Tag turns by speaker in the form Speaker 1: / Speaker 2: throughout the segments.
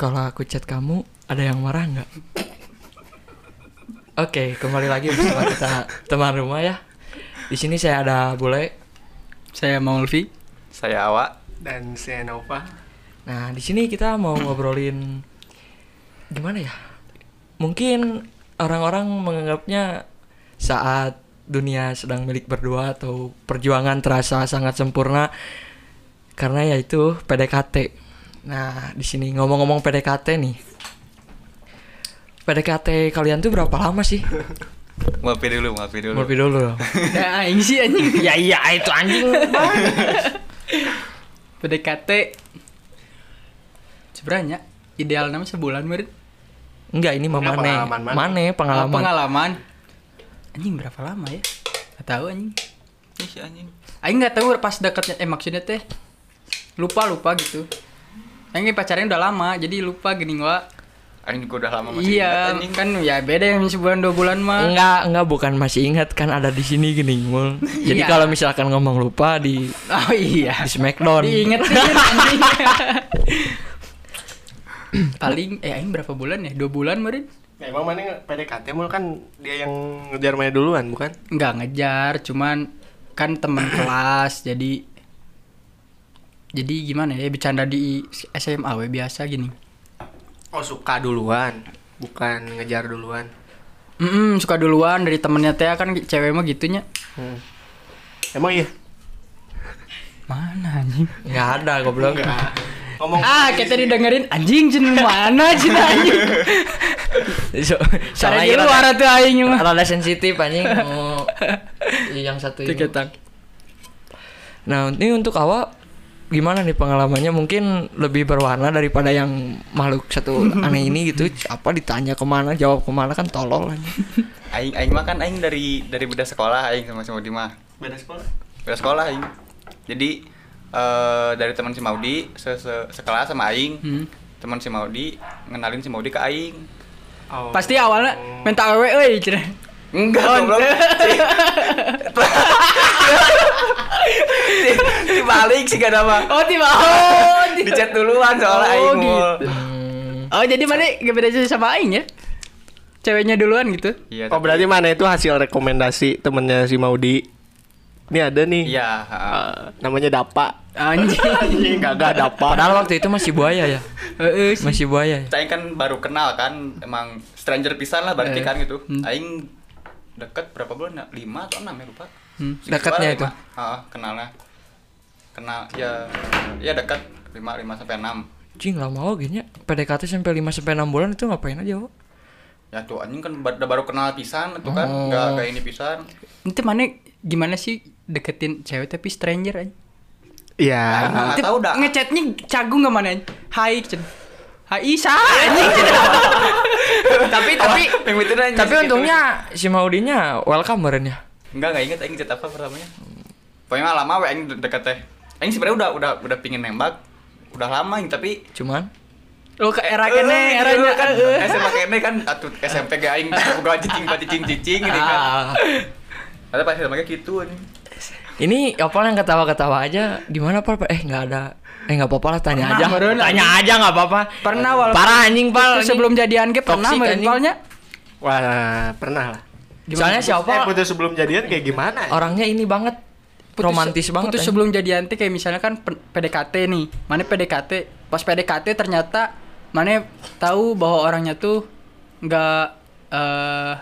Speaker 1: Kalau aku chat kamu, ada yang marah nggak? Oke, kembali lagi bersama kita teman rumah ya. Di sini saya ada Bule.
Speaker 2: Saya Maulvi.
Speaker 3: Saya Awa.
Speaker 4: dan saya Nova
Speaker 1: Nah, di sini kita mau ngobrolin gimana ya? Mungkin orang-orang menganggapnya saat dunia sedang milik berdua atau perjuangan terasa sangat sempurna karena ya yaitu PDKT. Nah, di sini ngomong-ngomong PDKT nih. PDKT kalian tuh berapa lama sih?
Speaker 3: Ngopi dulu, ngopi dulu.
Speaker 1: Ngopi dulu. dong.
Speaker 2: Ya aing sih anjing.
Speaker 1: ya iya itu anjing.
Speaker 2: PDKT. Sebenarnya ideal namanya sebulan murid.
Speaker 1: Enggak, ini mah
Speaker 4: Enggak,
Speaker 1: Mane.
Speaker 4: pengalaman Mane.
Speaker 1: Mane
Speaker 2: Pengalaman.
Speaker 1: pengalaman.
Speaker 2: Anjing berapa lama ya? Gak tahu anjing.
Speaker 3: Ih, si anjing.
Speaker 2: Aing nggak tahu pas dekatnya eh maksudnya teh lupa lupa gitu. Aing ini pacarnya udah lama jadi lupa gini gua.
Speaker 3: Anjing gua udah lama masih
Speaker 2: Iya
Speaker 3: ingat, anjing.
Speaker 2: kan ya beda yang sebulan dua bulan mah.
Speaker 1: Enggak, enggak bukan masih ingat kan ada di sini gini, Mul. Jadi
Speaker 2: Iya.
Speaker 1: kalau misalkan ngomong lupa di
Speaker 2: Oh iya.
Speaker 1: di Smackdown.
Speaker 2: Diingetin anjing. Paling eh aing berapa bulan ya? Dua bulan murid.
Speaker 4: Nah, emang mana nge- PDKT mul kan dia yang ngejar mana duluan bukan
Speaker 2: nggak ngejar cuman kan teman kelas jadi jadi gimana ya bercanda di SMA we biasa gini
Speaker 4: oh suka duluan bukan ngejar duluan
Speaker 2: Mm-mm, suka duluan dari temennya teh kan cewek mah gitunya
Speaker 4: Hmm. emang iya
Speaker 2: mana anjing
Speaker 1: Enggak ada goblok.
Speaker 4: ngomong
Speaker 2: ah kita didengerin anjing jen mana jen anjing
Speaker 1: So-
Speaker 2: cara
Speaker 1: soalnya
Speaker 2: di
Speaker 1: ya, rada-
Speaker 2: luar tuh aing mah
Speaker 1: Rada sensitif anjing. Oh, yang satu ini. Nah, ini untuk awal gimana nih pengalamannya mungkin lebih berwarna daripada yang makhluk satu aneh ini gitu apa ditanya kemana jawab kemana kan tolol anjing.
Speaker 3: Aing aing mah kan aing dari dari beda sekolah aing sama si Maudi mah.
Speaker 4: beda sekolah
Speaker 3: Beda sekolah aing. Jadi eh, dari teman si Maudi se -se sekelas sama aing.
Speaker 2: Hmm.
Speaker 3: Teman si Maudi ngenalin si Maudi ke aing.
Speaker 4: oh.
Speaker 2: pasti awalnya minta awe euy cenah.
Speaker 3: Enggak,
Speaker 2: Oh,
Speaker 3: goblok. Si- Si- si balik sih gak ada mah.
Speaker 2: oh tiba oh tiba.
Speaker 3: Di chat duluan soalnya
Speaker 2: Oh,
Speaker 3: aing.
Speaker 2: gitu.
Speaker 3: mul.
Speaker 1: Hmm,
Speaker 2: oh jadi mana gak beda sama aing ya ceweknya duluan gitu
Speaker 3: Iya.
Speaker 4: oh
Speaker 3: tapi-
Speaker 4: berarti mana itu hasil rekomendasi temennya si Maudi ini ada nih
Speaker 3: Iya, heeh.
Speaker 4: Eh, namanya Dapa
Speaker 2: anjing
Speaker 4: ini gak Dapa
Speaker 1: padahal waktu itu masih buaya ya
Speaker 2: Heeh sih.
Speaker 1: masih buaya ya.
Speaker 3: Aing kan baru kenal kan, emang stranger pisan lah berarti
Speaker 2: Eh,
Speaker 3: kan gitu.
Speaker 2: hmm.
Speaker 3: Aing deket berapa bulan? ya? Lima atau enam ya lupa.
Speaker 2: Hmm,
Speaker 3: Sekitar
Speaker 1: deketnya
Speaker 3: lima.
Speaker 1: itu.
Speaker 3: Ah, kenalnya. Kenal ya ya dekat lima lima sampai enam.
Speaker 1: Cing lama oh gini ya. PDKT sampai 5 sampai 6 bulan itu ngapain aja, Wo?
Speaker 3: Ya tuh anjing kan ba- udah baru kenal pisan itu kan,
Speaker 1: Oh.
Speaker 3: enggak kayak ini pisan.
Speaker 2: Nanti mana gimana sih deketin cewek tapi stranger aja.
Speaker 4: iya
Speaker 3: Aing nggak tahu dah.
Speaker 2: Ngechatnya cagung gak mana? Hai, Cen. Hai Isa. anjing, Cen. tapi tapi
Speaker 3: Yang itu nanya
Speaker 1: Tapi
Speaker 3: gitu.
Speaker 1: untungnya si Maudinya welcome beren ya.
Speaker 3: enggak enggak inget aing chat apa pertamanya. Pokoknya lama we aing deket teh. Aing sebenarnya udah udah udah pingin nembak udah lama aing, tapi
Speaker 1: Cuman
Speaker 2: lu ke era kene, eranya
Speaker 3: kan
Speaker 2: kan.
Speaker 3: SMA kene kan atut SMP ge aing buka cicing pa cicing cicing gitu kan.
Speaker 1: Ah,
Speaker 3: Ada pas SMA gitu anjing.
Speaker 1: ini opal yang ketawa-ketawa aja gimana pal? Eh nggak ada. Eh nggak apa-apa lah tanya
Speaker 2: Pernah,
Speaker 1: aja.
Speaker 2: beren,
Speaker 1: tanya aja nggak apa-apa.
Speaker 2: Pernah walaupun
Speaker 1: Parah anjing pal.
Speaker 2: sebelum jadian ke pernah
Speaker 1: Toxic, anjing.
Speaker 2: mentalnya.
Speaker 4: wah pernah lah Oh.
Speaker 1: Soalnya si
Speaker 4: eh
Speaker 1: Opal
Speaker 4: putus sebelum jadian kayak gimana ya?
Speaker 1: orangnya ini banget romantis banget. ya.
Speaker 2: Putus
Speaker 1: anjing.
Speaker 2: sebelum jadian teh kayak misalnya kan pen- PDKT nih. Mana PDKT? Pas PDKT ternyata mana tahu bahwa orangnya tuh nggak eh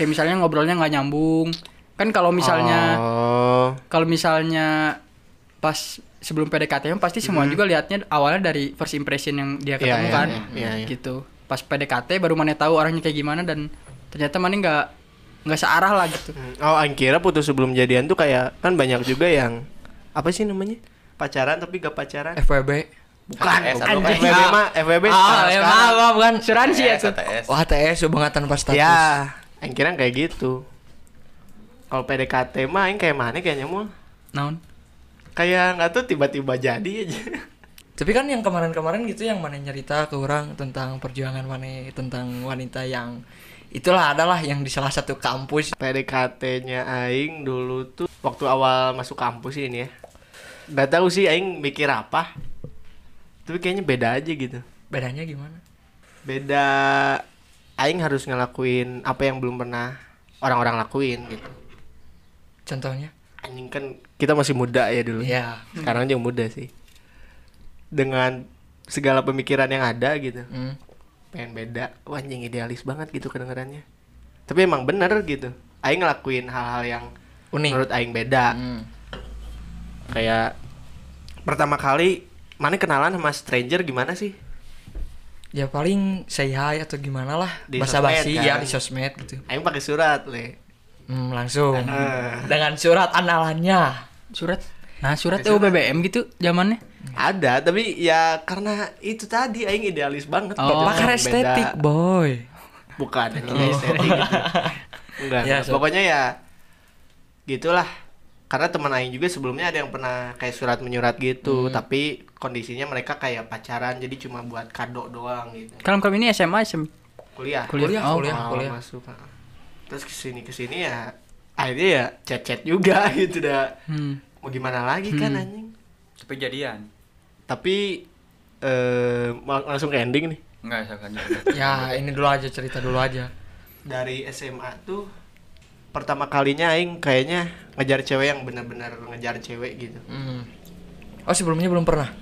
Speaker 2: kayak misalnya ngobrolnya nggak nyambung. Kan kalau misalnya
Speaker 4: oh
Speaker 2: kalau misalnya pas sebelum PDKT -nya, pasti semua juga lihatnya awalnya dari first impression yang dia
Speaker 4: Mm-hmm. Iya,
Speaker 2: ketemu
Speaker 4: iya,
Speaker 2: kan
Speaker 4: iya, iya, iya.
Speaker 2: gitu pas PDKT baru mana tahu orangnya kayak gimana dan ternyata mana nggak nggak searah lah gitu
Speaker 4: Oh, aing kira putus sebelum jadian tuh kayak kan banyak juga yang apa sih namanya? Pacaran tapi gak pacaran. Oh,
Speaker 1: FWB.
Speaker 4: Eh, bukan.
Speaker 3: ATS,
Speaker 4: bukan.
Speaker 3: anjing.
Speaker 4: FWB mah, Oh, FWB.
Speaker 1: Ah,
Speaker 4: sekarang-
Speaker 1: ya,
Speaker 4: sekarang.
Speaker 1: maaf, maaf kan.
Speaker 2: asuransi ya
Speaker 3: TS
Speaker 2: tuh
Speaker 3: ATS.
Speaker 1: Wah, TS hubungan tanpa status.
Speaker 4: Ya, aing kira kayak gitu. Kalau PDKT mah aing kayak mana kayaknya mul?
Speaker 2: naon
Speaker 4: Kayak nggak tuh tiba-tiba jadi aja.
Speaker 1: Tapi kan yang kemarin-kemarin gitu yang mana nyerita ke orang tentang perjuangan mana tentang wanita yang itulah adalah yang di salah satu kampus.
Speaker 4: PDKT-nya aing dulu tuh waktu awal masuk kampus ini ya. Gak tahu sih aing mikir apa. Tapi kayaknya beda aja gitu.
Speaker 1: bedanya gimana
Speaker 4: beda aing harus ngelakuin apa yang belum pernah orang-orang lakuin gitu
Speaker 1: contohnya
Speaker 4: anjing kan kita masih muda ya dulu
Speaker 1: Iya.
Speaker 4: sekarang juga muda sih dengan segala pemikiran yang ada gitu
Speaker 1: Hmm.
Speaker 4: pengen beda Wah, anjing idealis banget gitu kedengarannya tapi emang bener gitu aing ngelakuin hal-hal yang
Speaker 1: unik
Speaker 4: menurut aing beda
Speaker 1: Hmm.
Speaker 4: kayak pertama kali mana kenalan sama stranger gimana sih
Speaker 1: ya paling say hi atau gimana lah
Speaker 4: Di
Speaker 1: bahasa basi
Speaker 4: sosmed,
Speaker 1: ya
Speaker 4: kan?
Speaker 1: di sosmed gitu
Speaker 4: aing pakai surat le
Speaker 1: Hmm, langsung
Speaker 4: Ah.
Speaker 1: dengan surat analannya
Speaker 2: Surat. Nah, surat tuh BBM gitu zamannya.
Speaker 1: Hmm.
Speaker 4: ada tapi ya karena itu tadi aing idealis banget
Speaker 2: Oh,
Speaker 4: gitu.
Speaker 1: pakar
Speaker 4: Beda.
Speaker 1: estetik boy
Speaker 4: bukan
Speaker 1: Iya,
Speaker 4: anjing estetik gitu. enggak
Speaker 1: Ya,
Speaker 4: enggak.
Speaker 1: so-
Speaker 4: pokoknya ya gitulah karena teman aing juga sebelumnya ada yang pernah kayak surat menyurat gitu tapi kondisinya mereka kayak pacaran jadi cuma buat kado doang gitu
Speaker 2: Kalau kalau ini SMA SM.
Speaker 4: kuliah
Speaker 1: kuliah
Speaker 2: Oh,
Speaker 1: kuliah
Speaker 4: Awal
Speaker 1: kuliah
Speaker 4: masuk ah. terus kesini kesini ya akhirnya ya cecet juga gitu dah
Speaker 2: Hmm.
Speaker 4: mau gimana lagi kan anjing
Speaker 3: Tapi jadian.
Speaker 4: tapi eh mau- langsung ke ending nih
Speaker 3: Enggak, saya lanjut.
Speaker 1: ya ini dulu aja cerita dulu aja
Speaker 4: dari SMA tuh pertama kalinya aing kayaknya ngejar cewek yang benar-benar ngejar cewek gitu
Speaker 1: Hmm. oh sebelumnya belum pernah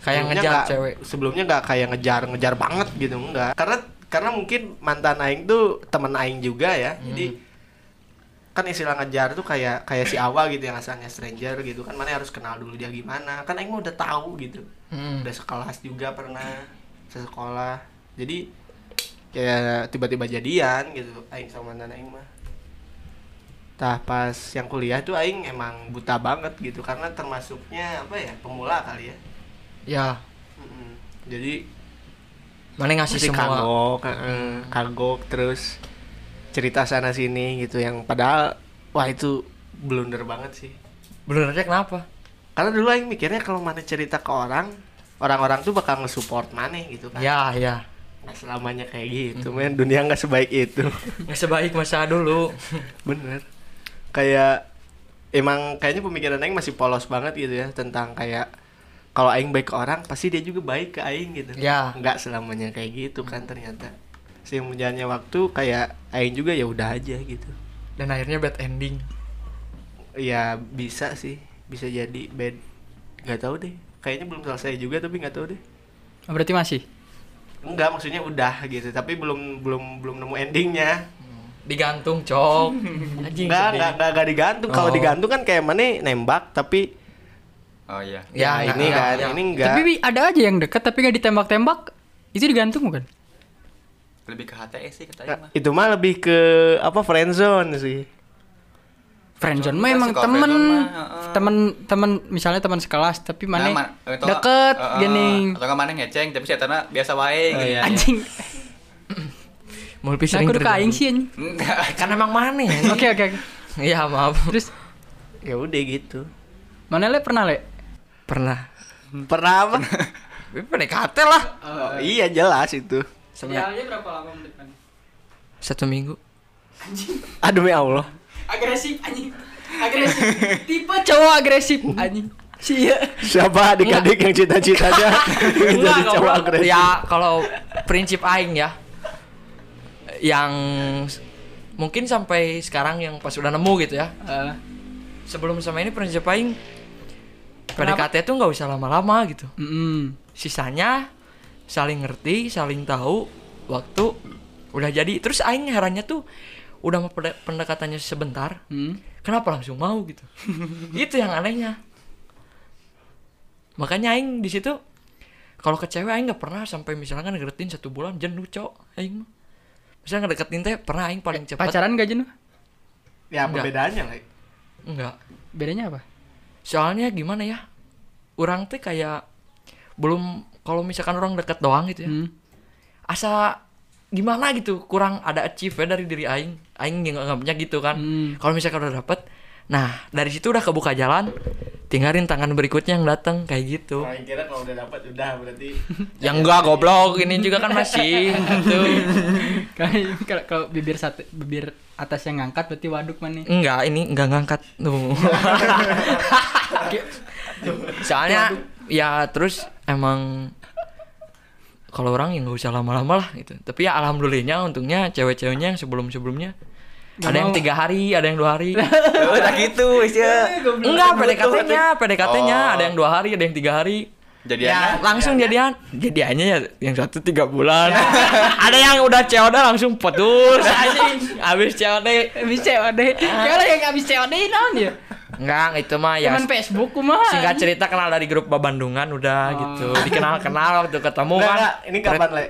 Speaker 1: kayak
Speaker 4: Sebelumnya
Speaker 1: ngejar
Speaker 4: nggak-
Speaker 1: cewek
Speaker 4: sebelumnya nggak kayak ngejar ngejar banget gitu enggak karena karena mungkin mantan aing tuh temen aing juga ya
Speaker 1: Hmm.
Speaker 4: jadi kan istilah ngejar tuh kayak kayak si awal gitu yang asalnya stranger gitu kan mana harus kenal dulu dia gimana kan aing mah udah tahu gitu
Speaker 1: Hmm.
Speaker 4: udah sekelas juga pernah sesekolah jadi kayak tiba-tiba jadian gitu aing sama mantan aing mah Tah pas yang kuliah tuh aing emang buta banget gitu karena termasuknya apa ya pemula kali ya.
Speaker 1: ya
Speaker 4: Mm-mm. Jadi
Speaker 1: mana ngasih
Speaker 4: masih
Speaker 1: semua
Speaker 4: kagok, eh, kagok terus cerita sana sini gitu yang padahal wah itu blunder banget sih.
Speaker 1: Blundernya kenapa
Speaker 4: Karena dulu aing mikirnya kalau mana cerita ke orang, orang-orang tuh bakal nge-support mana gitu kan.
Speaker 1: ya ya
Speaker 4: Nah, selamanya kayak gitu, men. Dunia nggak sebaik itu.
Speaker 1: nggak sebaik masa dulu
Speaker 4: Bener. Kayak emang kayaknya pemikiran aing masih polos banget gitu ya tentang kayak kalau aing baik ke orang, pasti dia juga baik ke aing gitu.
Speaker 1: Ya.
Speaker 4: Nggak selamanya kayak gitu kan ternyata. Seiring berjalannya waktu kayak aing juga ya udah aja gitu.
Speaker 1: dan akhirnya bad ending
Speaker 4: Ya bisa sih, bisa jadi bad. Nggak tahu deh. Kayaknya belum selesai juga tapi nggak tahu deh.
Speaker 2: Oh, Berarti masih.
Speaker 4: Enggak, maksudnya udah gitu, tapi belum belum belum nemu endingnya.
Speaker 1: digantung cok anjing
Speaker 4: Enggak,
Speaker 1: sedih.
Speaker 4: enggak, enggak, enggak digantung. Kalau
Speaker 1: Oh.
Speaker 4: digantung kan kayak mana nembak tapi
Speaker 3: Oh iya.
Speaker 1: ya
Speaker 4: nah, ini
Speaker 1: ya,
Speaker 4: kan,
Speaker 1: ya.
Speaker 4: ini enggak.
Speaker 2: Tapi Wi, ada aja yang dekat tapi gak ditembak-tembak. Itu digantung bukan?
Speaker 3: Lebih ke HTS sih
Speaker 4: Nah,
Speaker 3: katanya mah.
Speaker 4: itu mah lebih ke apa friendzone sih.
Speaker 2: Friendzone mah
Speaker 3: Friendzone
Speaker 2: emang
Speaker 3: sih, kalau
Speaker 2: temen
Speaker 3: friendzone mah, heeh.
Speaker 2: temen temen misalnya teman sekelas tapi mana
Speaker 3: Nah, ma- atau nggak-
Speaker 2: deket Oh, iya,
Speaker 3: eh, eh,
Speaker 2: gini
Speaker 3: Atau enggak mana ngeceng, tapi saya tanya biasa wae gitu. gini.
Speaker 2: anjing
Speaker 1: Mulpi
Speaker 2: nah,
Speaker 1: sering
Speaker 2: aku udah
Speaker 1: terjadi.
Speaker 2: kain sih anjing
Speaker 3: Enggak.
Speaker 1: kan emang mana
Speaker 2: oke oke oke.
Speaker 1: Iya maaf
Speaker 2: terus
Speaker 4: Ya udah gitu.
Speaker 2: mana le pernah le
Speaker 1: pernah
Speaker 4: Pernah apa?
Speaker 1: Tapi PDKT lah
Speaker 4: Oh, iya jelas itu.
Speaker 1: Sebenarnya
Speaker 2: berapa lama menit
Speaker 1: satu minggu
Speaker 4: Aduh ya Allah.
Speaker 2: agresif anjing agresif tipe cowok agresif anjing sih ya
Speaker 4: Siapa adik-adik yang cita-citanya ingin jadi
Speaker 1: Enggak,
Speaker 4: cowok
Speaker 1: ngobrol.
Speaker 4: agresif?
Speaker 1: ya kalau prinsip aing ya yang s- mungkin sampai sekarang yang pas udah nemu gitu ya
Speaker 2: Eh,
Speaker 1: sebelum sama ini prinsip aing
Speaker 2: Kenapa?
Speaker 1: PDKT tuh nggak usah lama-lama gitu
Speaker 2: mm-mm.
Speaker 1: sisanya saling ngerti saling tahu waktu udah jadi terus aing herannya tuh udah mau pede- pendekatannya sebentar
Speaker 2: Hmm.
Speaker 1: kenapa langsung mau gitu itu yang anehnya makanya aing di situ kalau ke cewek aing nggak pernah sampai misalkan ngedeketin satu bulan jenuh cok aing mah misalnya ngedeketin teh pernah aing paling
Speaker 2: Eh,
Speaker 1: cepat
Speaker 2: pacaran gak jenuh
Speaker 4: Ya apa
Speaker 1: Enggak.
Speaker 4: bedanya, Le?
Speaker 1: enggak
Speaker 2: bedanya apa
Speaker 1: soalnya gimana ya orang teh kayak belum kalau misalkan orang deket doang gitu ya
Speaker 2: Hmm.
Speaker 1: asa gimana gitu kurang ada achieve dari diri aing aing nganggapnya gitu kan
Speaker 2: Hmm.
Speaker 1: kalau misalkan udah dapet nah dari situ udah kebuka jalan tinggalin tangan berikutnya yang datang kayak gitu
Speaker 4: Orang Nah, kira kalau udah dapat udah berarti
Speaker 1: yang enggak goblok ini juga kan masih gitu
Speaker 2: Kalau- kalau kalau bibir satu bibir atas yang ngangkat berarti waduk mana
Speaker 1: enggak ini enggak ngangkat tuh soalnya ya terus emang kalau orang yang nggak usah lama-lama lah gitu tapi ya alhamdulillahnya untungnya cewek-ceweknya yang sebelum-sebelumnya ada yang tiga hari ada yang dua hari
Speaker 3: udah gitu
Speaker 4: ya.
Speaker 3: isya
Speaker 1: enggak PDKT-nya PDKT-nya
Speaker 3: Oh.
Speaker 1: ada yang dua hari ada yang tiga hari
Speaker 3: jadi
Speaker 1: Ya, langsung jadian. Ya. Jadiannya ya yang satu tiga bulan. Ada yang udah COD langsung putus anjing. Habis COD.
Speaker 2: Abis COD. Kalau yang abis COD naon Ah. ya?
Speaker 1: Enggak, itu mah ya.
Speaker 2: Cuman Facebook mah.
Speaker 1: Singkat cerita kenal dari grup Babandungan udah gitu. Dikenal-kenal waktu ketemu
Speaker 4: Oh. Enggak,
Speaker 1: kan.
Speaker 4: enggak, ini kapan, Le? Ya,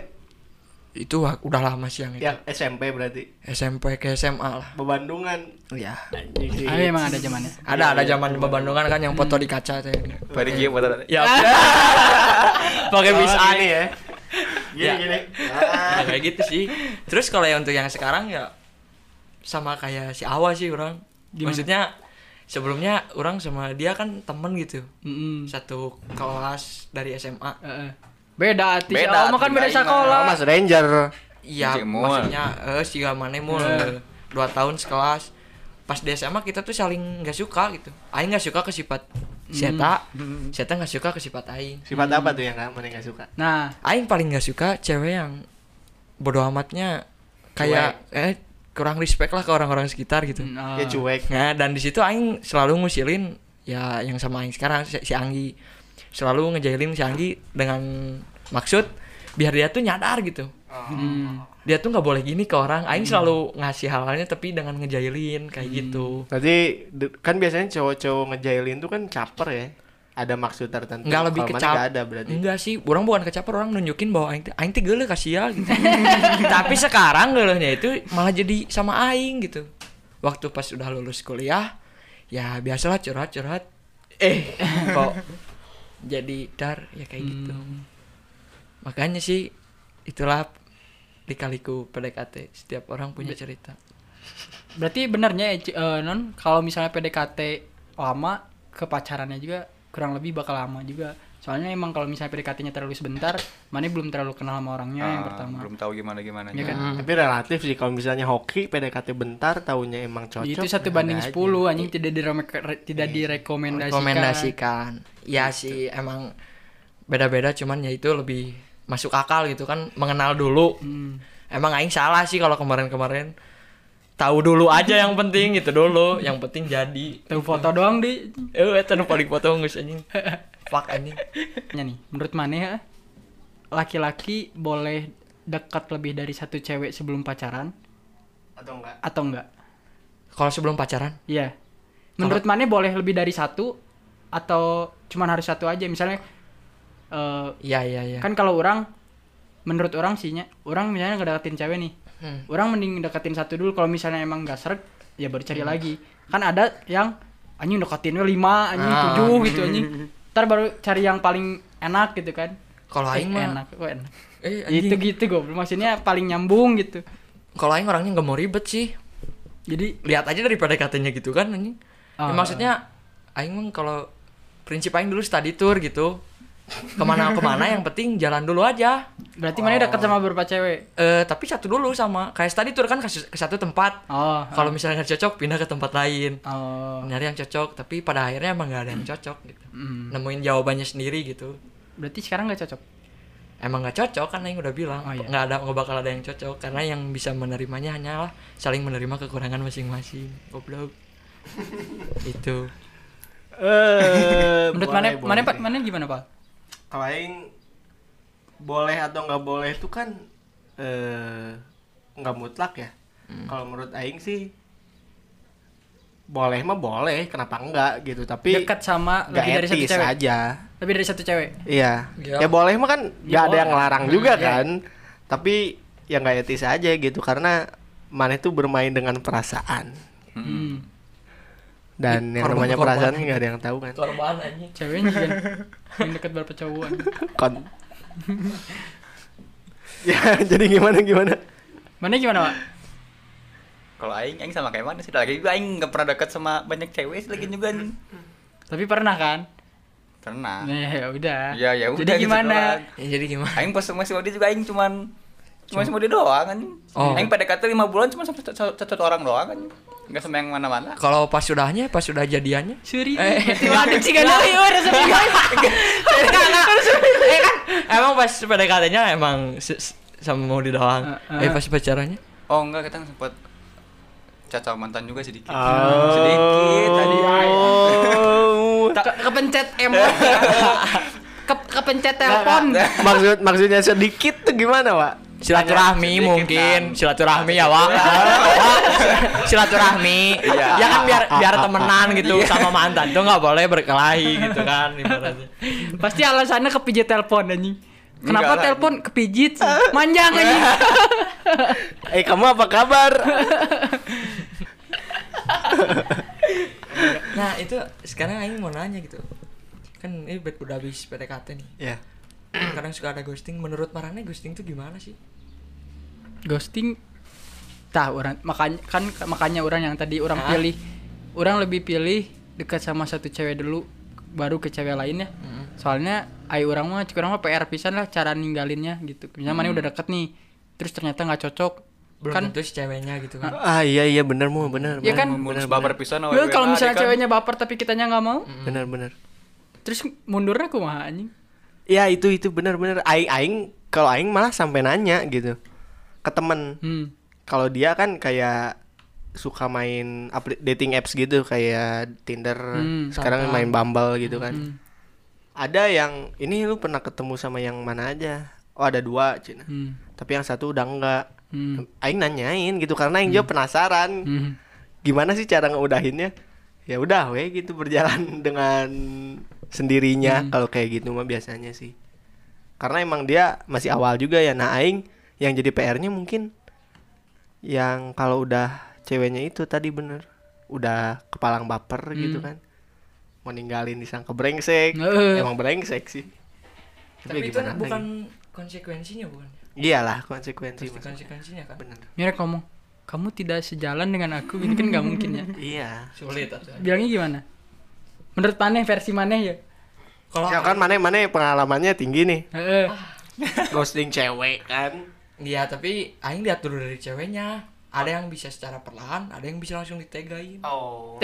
Speaker 1: Itu wa- udah lama sih yang itu.
Speaker 4: Yang SMP berarti.
Speaker 1: SMP ke SMA lah.
Speaker 4: Bebandungan.
Speaker 1: Iya.
Speaker 2: Ah, emang ada zamannya.
Speaker 1: Ada
Speaker 4: Iya,
Speaker 1: ada zaman Babandungan kan yang foto di kaca teh.
Speaker 3: Bari kieu buat ada.
Speaker 1: Ya. Pakai bis
Speaker 4: Oh,
Speaker 1: eye.
Speaker 4: gini ya.
Speaker 1: Ya.
Speaker 4: Gini, gini.
Speaker 1: Ya, kayak gitu sih. Terus kalau yang untuk yang sekarang ya sama kayak si Awa sih orang.
Speaker 2: Gimana?
Speaker 1: Maksudnya sebelumnya orang sama dia kan temen gitu.
Speaker 4: Hmm.
Speaker 2: Mm-mm.
Speaker 1: Satu kelas dari SMA.
Speaker 2: Heeh. Eh, Beda atuh.
Speaker 3: Beda
Speaker 2: Beda, oh, makan
Speaker 3: atuh,
Speaker 2: beda
Speaker 3: lain mah.
Speaker 2: sekolah.
Speaker 4: Oh, Mas Ranger.
Speaker 1: Iya,
Speaker 3: Si Mul.
Speaker 1: maksudnya eh si Gamane mul
Speaker 2: Eh.
Speaker 1: dua tahun sekelas. Pas di SMA kita tuh saling nggak suka gitu. Aing nggak suka ke sifat si Eta, si Eta nggak suka ke sifat Aing.
Speaker 4: Sifat apa tuh yang kamu enggak suka?
Speaker 2: Nah,
Speaker 1: Aing paling nggak suka cewek yang bodoh amatnya kayak eh kurang respect lah ke orang-orang sekitar gitu.
Speaker 2: mm, ah.
Speaker 4: Ya cuek.
Speaker 1: Nah, dan di situ aing selalu ngusilin ya yang sama aing sekarang si, si Anggi. Selalu ngejailin si Anggi dengan maksud biar dia tuh nyadar gitu.
Speaker 2: Mm.
Speaker 1: Dia tuh nggak boleh gini ke orang. Aing
Speaker 4: Hmm.
Speaker 1: selalu ngasih hal-halnya tapi dengan ngejailin kayak gitu.
Speaker 4: Berarti de- kan biasanya cowok-cowok ngejailin tuh kan caper ya. Ada maksud tertentu.
Speaker 1: Nggak lebih
Speaker 4: Kalau mana
Speaker 1: kecap.
Speaker 4: nggak ada berarti.
Speaker 2: Hmm.
Speaker 1: Enggak sih, orang bukan kecaper, orang nunjukin bahwa aing teh- aing teh geuleuh kasih ya gitu. Tapi sekarang geuleuhnya itu malah jadi sama aing gitu. Waktu pas udah lulus kuliah, ya biasalah curhat-curhat. Eh, kok jadi dar ya kayak gitu.
Speaker 4: Hmm.
Speaker 1: Makanya sih itulah dikaliku PDKT. Setiap orang punya cerita.
Speaker 2: Berarti benernya ya, Ci- eh, non kalau misalnya PDKT lama ke pacarannya juga kurang lebih bakal lama juga. Soalnya emang kalau misalnya PDKT-nya terlalu sebentar, mana belum terlalu kenal sama orangnya ya, yang
Speaker 3: Ah,
Speaker 2: pertama.
Speaker 3: Belum tahu gimana gimana.
Speaker 2: Iya kan?
Speaker 4: Tapi relatif sih kalau misalnya hoki PDKT bentar tahunya emang cocok. Eh,
Speaker 2: itu satu banding
Speaker 4: ada aja. Iya.
Speaker 2: 10 anjing tidak dirome- re- tidak direkomendasikan.
Speaker 1: rekomendasikan. Ya
Speaker 2: Gitu.
Speaker 1: sih emang beda-beda cuman ya itu lebih masuk akal gitu kan mengenal dulu.
Speaker 2: Hmm.
Speaker 1: Emang aing salah sih kalau kemarin-kemarin tahu dulu aja yang penting gitu dulu, yang penting jadi.
Speaker 2: Tahu foto doang di
Speaker 1: Eh eta nu paling foto geus anjing. Fuck anjing.
Speaker 2: Nya nih, menurut mana ya? Laki-laki boleh dekat lebih dari satu cewek sebelum pacaran
Speaker 4: atau enggak?
Speaker 2: atau enggak?
Speaker 1: Kalau sebelum pacaran
Speaker 2: Iya. Menurut mana boleh lebih dari satu atau cuman harus satu aja? Misalnya eh,
Speaker 1: Iya iya iya.
Speaker 2: kan kalau orang menurut orang sihnya, orang misalnya ngedeketin cewek nih.
Speaker 1: Hmm.
Speaker 2: Orang mending deketin satu dulu kalau misalnya emang gak seret ya baru
Speaker 1: Hmm.
Speaker 2: cari lagi. Kan ada yang anjing deketinnya lima, anjing
Speaker 1: Ah.
Speaker 2: tujuh gitu anjing. Ntar baru cari yang paling enak gitu kan.
Speaker 1: Kalau
Speaker 2: Eh,
Speaker 1: aing mah
Speaker 2: enak, kok enak.
Speaker 1: eh
Speaker 2: Itu
Speaker 1: anjing.
Speaker 2: gitu gue maksudnya paling nyambung gitu.
Speaker 1: Kalau aing orangnya nggak mau ribet sih.
Speaker 2: Jadi
Speaker 1: Lihat aja daripada katanya gitu kan anjing. Ya,
Speaker 2: Ah.
Speaker 1: maksudnya aing mah kalau prinsip aing dulu study tour gitu. Kemana-kemana yang penting jalan dulu aja.
Speaker 2: berarti mana
Speaker 1: Oh.
Speaker 2: dekat sama beberapa cewek?
Speaker 1: Eh tapi satu dulu sama kayak study tour kan ke ke satu tempat.
Speaker 2: Oh.
Speaker 1: Kalau misalnya nggak cocok pindah ke tempat lain.
Speaker 2: oh. Hmm.
Speaker 1: nyari yang cocok tapi pada akhirnya emang nggak ada yang cocok gitu
Speaker 2: Mm.
Speaker 1: nemuin jawabannya sendiri gitu
Speaker 2: Berarti sekarang nggak cocok.
Speaker 1: emang nggak cocok kan yang udah bilang
Speaker 2: Oh, iya.
Speaker 1: nggak ada nggak bakal ada yang cocok karena yang bisa menerimanya hanyalah saling menerima kekurangan masing-masing goblok itu
Speaker 4: Eh,
Speaker 2: Menurut mana
Speaker 4: boleh,
Speaker 2: mana
Speaker 4: boleh
Speaker 2: Pak,
Speaker 4: sih.
Speaker 2: mana gimana, Pak?
Speaker 4: Kalau aing boleh atau nggak boleh itu kan eh nggak mutlak ya.
Speaker 2: Hmm.
Speaker 4: Kalau menurut aing sih boleh mah boleh, kenapa enggak gitu. Tapi
Speaker 2: Dekat sama
Speaker 4: nggak
Speaker 2: lebih dari satu
Speaker 4: etis
Speaker 2: cewek.
Speaker 4: aja.
Speaker 2: Lebih dari satu cewek.
Speaker 4: Iya.
Speaker 1: Iya.
Speaker 4: Ya boleh mah kan nggak ada
Speaker 2: boleh.
Speaker 4: yang ngelarang juga
Speaker 2: Iya.
Speaker 4: kan. Tapi ya nggak etis aja gitu karena mana itu bermain dengan perasaan
Speaker 2: Hmm.
Speaker 4: dan yang
Speaker 1: Korban-
Speaker 4: namanya
Speaker 1: korban.
Speaker 4: perasaan nggak ada yang tahu kan.
Speaker 1: korban aja
Speaker 2: Ceweknya juga yang dekat berapa cowok.
Speaker 4: Kon. ya jadi gimana gimana?
Speaker 2: Mana gimana, Pak?
Speaker 3: Kalau aing aing sama kayak mana sih? Lagi juga aing nggak pernah dekat sama banyak cewek sih lagi juga
Speaker 2: Hmm.
Speaker 3: nih.
Speaker 2: Tapi pernah kan?
Speaker 3: Pernah.
Speaker 2: Nah, ya udah.
Speaker 3: Ah. Ya ya udah
Speaker 2: Jadi
Speaker 3: gitu
Speaker 2: gimana?
Speaker 3: doang.
Speaker 1: ya, jadi gimana
Speaker 3: Aing pas sama si Odi juga aing cuman cuma sama dia doang kan.
Speaker 1: Oh.
Speaker 3: Aing PDKT 5 bulan cuma sama satu- satu satu orang doang kan. Enggak sama yang mana-mana.
Speaker 1: kalau pas sudahnya pas sudah jadiannya
Speaker 2: Suri.
Speaker 1: Eh.
Speaker 2: Berarti waduh sih kan. Ayo, harus
Speaker 1: eh kan emang pas PDKT-nya emang se- se- sama mau di doang.
Speaker 2: Eh, eh.
Speaker 1: Eh pas pacarannya?
Speaker 3: Oh enggak kita sempat caca mantan juga sedikit.
Speaker 2: Gitu.
Speaker 4: Oh. Iya,
Speaker 3: Sedikit tadi.
Speaker 2: Ke- kepencet emot ke kepencet telepon
Speaker 4: Maksud maksudnya sedikit tuh gimana, Pak?
Speaker 1: Silaturahmi
Speaker 3: Sedikit,
Speaker 1: mungkin,
Speaker 3: kan?
Speaker 1: silaturahmi ya, Wak. Wak, Silaturahmi.
Speaker 3: Iya.
Speaker 1: Ya kan biar biar temenan gitu sama mantan tuh nggak boleh berkelahi gitu kan ibaratnya.
Speaker 2: pasti alasannya kepijit telepon anjing kenapa
Speaker 3: Enggak lah.
Speaker 2: telepon kepijit sih? manjang anjing
Speaker 4: Eh, kamu apa kabar?
Speaker 1: Nah, itu sekarang aing mau nanya gitu. Kan ini be- udah habis PDKT nih.
Speaker 4: ya.
Speaker 1: Kadang suka ada ghosting. Menurut Marane ghosting tuh gimana sih?
Speaker 2: ghosting tah orang makanya kan makanya orang yang tadi orang
Speaker 1: Hah?
Speaker 2: pilih orang lebih pilih dekat sama satu cewek dulu baru ke cewek lainnya soalnya ai orang mah cik orang mah PR pisan lah cara ninggalinnya gitu misalnya mana udah deket nih terus ternyata nggak cocok
Speaker 1: Belum
Speaker 2: kan
Speaker 1: tentu si ceweknya gitu kan.
Speaker 4: Ah, iya iya benar mau benar.
Speaker 2: Ya
Speaker 4: benar,
Speaker 2: kan?
Speaker 3: Mulus
Speaker 4: benar,
Speaker 3: baper pisan
Speaker 2: Well,
Speaker 3: awewe
Speaker 2: kalau
Speaker 3: lah,
Speaker 2: misalnya
Speaker 3: dia kan.
Speaker 2: ceweknya baper tapi kitanya nggak mau
Speaker 4: benar benar.
Speaker 2: terus mundurnya kumaha anjing
Speaker 4: Ya itu itu benar benar. Aing aing kalau aing malah sampai nanya gitu ke temen
Speaker 2: hmm.
Speaker 4: kalau dia kan kayak suka main apli- dating apps gitu kayak Tinder,
Speaker 2: Hmm,
Speaker 4: sekarang
Speaker 1: Tantan.
Speaker 4: main Bumble gitu kan.
Speaker 2: hmm,
Speaker 4: Ada yang ini lu pernah ketemu sama yang mana aja? Oh ada dua Cina.
Speaker 2: hmm,
Speaker 4: Tapi yang satu udah enggak.
Speaker 2: hmm,
Speaker 4: Aing nanyain gitu karena aing jawab penasaran.
Speaker 2: hmm.
Speaker 4: Gimana sih cara ngeudahinnya? Ya udah we gitu berjalan dengan sendirinya
Speaker 2: Hmm.
Speaker 4: kalau kayak gitu mah biasanya sih. Karena emang dia masih awal juga ya. Nah, aing yang jadi PR-nya mungkin yang kalau udah ceweknya itu tadi bener udah kepalang baper
Speaker 2: Hmm.
Speaker 4: gitu kan. Mau ninggalin disangka brengsek.
Speaker 2: Heeh.
Speaker 4: Emang brengsek sih. ya
Speaker 1: Tapi itu
Speaker 4: gimana
Speaker 1: bukan
Speaker 4: lagi?
Speaker 1: konsekuensinya bukan.
Speaker 4: Iyalah konsekuensi
Speaker 1: Pasti
Speaker 4: maksudnya.
Speaker 1: konsekuensinya kan.
Speaker 4: Bener.
Speaker 2: Mirek ngomong kamu tidak sejalan dengan aku ini kan nggak mungkin ya
Speaker 4: Iya.
Speaker 1: Sulit atuh.
Speaker 2: bilangnya gimana menurut maneh versi maneh ya
Speaker 1: Kalau
Speaker 4: Ya kan mana mana pengalamannya tinggi nih
Speaker 2: Heeh.
Speaker 4: ghosting cewek kan.
Speaker 1: Iya, tapi aing lihat dulu dari ceweknya. Ada yang bisa secara perlahan, ada yang bisa langsung ditegain.
Speaker 4: Oh.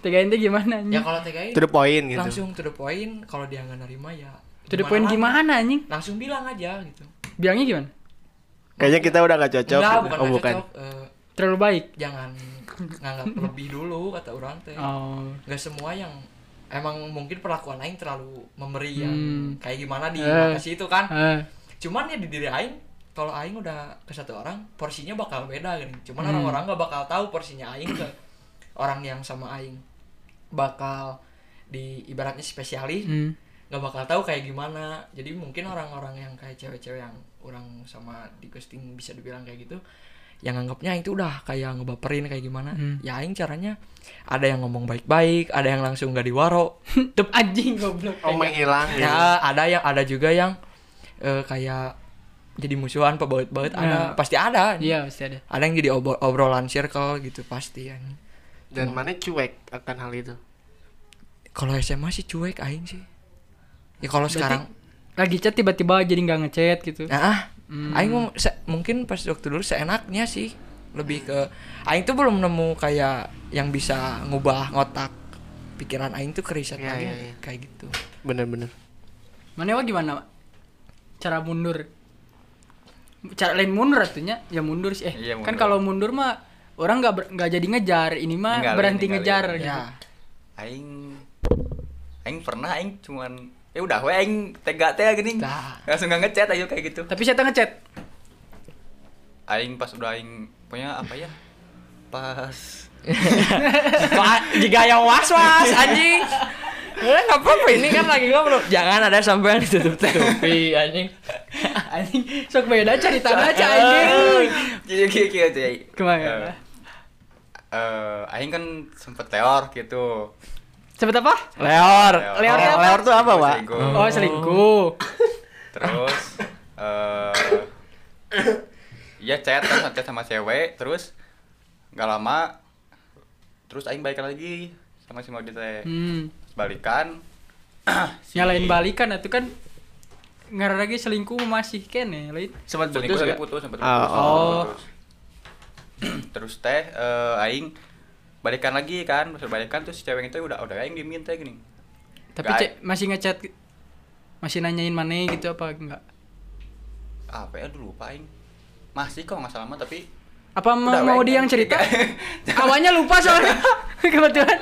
Speaker 2: tegain teh gimana
Speaker 1: Ya
Speaker 2: anjing
Speaker 1: kalau tegain
Speaker 4: To the point gitu.
Speaker 1: langsung to the point, kalau dia nggak nerima ya
Speaker 2: to the point
Speaker 1: lagi?
Speaker 2: gimana anjing
Speaker 1: Langsung bilang aja gitu.
Speaker 2: bilangnya gimana
Speaker 4: Kayaknya kita udah gak cocok.
Speaker 1: Enggak,
Speaker 4: gitu.
Speaker 1: bukan
Speaker 4: oh,
Speaker 1: nggak
Speaker 4: bukan.
Speaker 1: cocok. Eh,
Speaker 2: terlalu baik
Speaker 1: jangan nganggap lebih dulu kata orang teh.
Speaker 2: oh
Speaker 1: nggak semua yang emang mungkin perlakuan aing terlalu memberi yang
Speaker 2: Hmm.
Speaker 1: kayak gimana di
Speaker 2: Eh.
Speaker 1: Bekasi itu kan
Speaker 2: Heeh.
Speaker 1: cuman ya di diri aing kalau aing udah ke satu orang porsinya bakal beda gini cuman
Speaker 2: Hmm.
Speaker 1: orang-orang nggak bakal tahu porsinya aing ke orang yang sama aing bakal di ibaratnya spesialis
Speaker 2: hmm.
Speaker 1: nggak bakal tahu kayak gimana jadi mungkin orang-orang yang kayak cewek-cewek yang orang sama di ghosting bisa dibilang kayak gitu yang anggapnya itu udah kayak ngebaperin kayak gimana
Speaker 2: Hmm.
Speaker 1: ya aing caranya ada yang ngomong baik-baik ada yang langsung gak diwaro
Speaker 2: Tep anjing goblok
Speaker 4: Oh menghilang ya.
Speaker 2: Iya.
Speaker 1: ya ada yang ada juga yang eh, kayak jadi musuhan pebaut-baut ada
Speaker 2: Ya.
Speaker 1: pasti ada
Speaker 2: iya pasti ada
Speaker 1: ada yang jadi obro- obrolan circle gitu pasti ya
Speaker 4: Dan mana cuek akan hal itu.
Speaker 1: kalau SMA sih cuek aing sih ya kalau sekarang
Speaker 2: lagi chat tiba-tiba jadi nggak ngechat gitu
Speaker 1: Nah, ah. aing mau- se- mungkin pas waktu dulu seenaknya sih lebih ke aing tuh belum nemu kayak yang bisa ngubah ngotak pikiran aing tuh keriset
Speaker 2: Iya,
Speaker 4: Ya,
Speaker 1: lagi
Speaker 4: ya, ya.
Speaker 1: kayak gitu.
Speaker 4: Bener-bener.
Speaker 2: Mana wa gimana? Wak? Cara mundur. Cara lain mundur artinya ya mundur sih. Eh,
Speaker 3: Iya, mundur.
Speaker 2: kan kalau mundur mah orang nggak ber- nggak jadi ngejar, ini mah
Speaker 3: Ninggalin,
Speaker 2: berhenti
Speaker 3: ninggalin.
Speaker 2: ngejar
Speaker 3: Ya.
Speaker 2: gitu.
Speaker 1: Ya.
Speaker 3: Aing Aing pernah aing cuman ya udah we aing tega teh gini.
Speaker 1: Dah.
Speaker 3: Langsung nggak ngechat ayo kayak gitu.
Speaker 2: Tapi saya ngechat.
Speaker 3: Aing pas udah aing punya apa ya? Pas
Speaker 1: jika yang was-was anjing. Eh, nggak apa-apa ini kan lagi ngobrol. Jangan ada sampai yang ditutup-tutupi anjing.
Speaker 2: anjing, sok beda cerita aja
Speaker 1: Eh.
Speaker 2: anjing.
Speaker 3: Jadi kayak gitu aja.
Speaker 2: Kemana?
Speaker 3: Eh, aing kan sempet teor gitu.
Speaker 2: Cepet apa?
Speaker 1: Leor.
Speaker 2: Leor
Speaker 4: Oh,
Speaker 2: apa?
Speaker 4: leor tuh apa, Wak?
Speaker 3: Selingkuh.
Speaker 2: Oh, selingkuh.
Speaker 3: oh. Terus eh Iya chat terus chat sama cewek terus nggak lama terus aing balikan lagi sama si Maudy teh.
Speaker 2: Hmm.
Speaker 3: Balikan. Si-
Speaker 2: Nyalain balikan itu kan ngarang lagi selingkuh masih kene lain.
Speaker 4: Sempat
Speaker 3: Selingkuh
Speaker 4: putus
Speaker 2: ya?
Speaker 3: tapi
Speaker 4: nggak?
Speaker 3: putus sempat
Speaker 4: Oh,
Speaker 3: putus.
Speaker 2: oh.
Speaker 3: Putus. terus teh eh, aing balikan lagi kan, terus balikan terus si cewek itu udah udah aing diemin teh gini.
Speaker 2: Tapi
Speaker 3: Nggak.
Speaker 2: ce- masih ngechat masih nanyain mana gitu apa enggak
Speaker 3: apa ya dulu lupa aing masih kok nggak salah mah tapi
Speaker 2: apa mau-
Speaker 3: Udah,
Speaker 2: mau
Speaker 3: Weng.
Speaker 2: dia yang cerita awalnya lupa soalnya kebetulan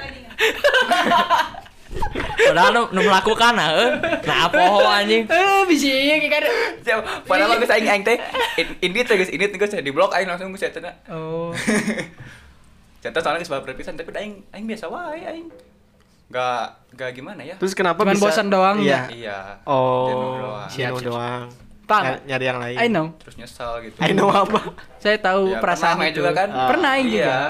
Speaker 1: Padahal nu, nu melakukan ah, eh. Nah,
Speaker 3: Oh,
Speaker 1: poho anjing.
Speaker 2: eh bisa ya kayak kada.
Speaker 3: Siap, padahal bagus aing aing teh in- ini tuh guys ini tuh guys di blok aing langsung geus eta
Speaker 2: oh
Speaker 3: Contoh soalnya geus baper pisan tapi da aing aing biasa wae aing. Gak gak gimana ya?
Speaker 4: Terus kenapa
Speaker 2: Cuman
Speaker 4: bisa
Speaker 2: bosan doang
Speaker 4: Iya.
Speaker 3: Iya. jenuh
Speaker 4: Oh,
Speaker 3: doang.
Speaker 4: jenuh doang.
Speaker 2: Paham.
Speaker 4: Nyari- Nyari yang lain.
Speaker 2: I know
Speaker 3: Terus nyesal gitu.
Speaker 4: I know apa?
Speaker 2: saya tahu
Speaker 3: Ya,
Speaker 2: perasaan
Speaker 3: pernah
Speaker 2: itu. Ah.
Speaker 3: juga kan?
Speaker 2: pernah aing
Speaker 3: Iya.
Speaker 2: juga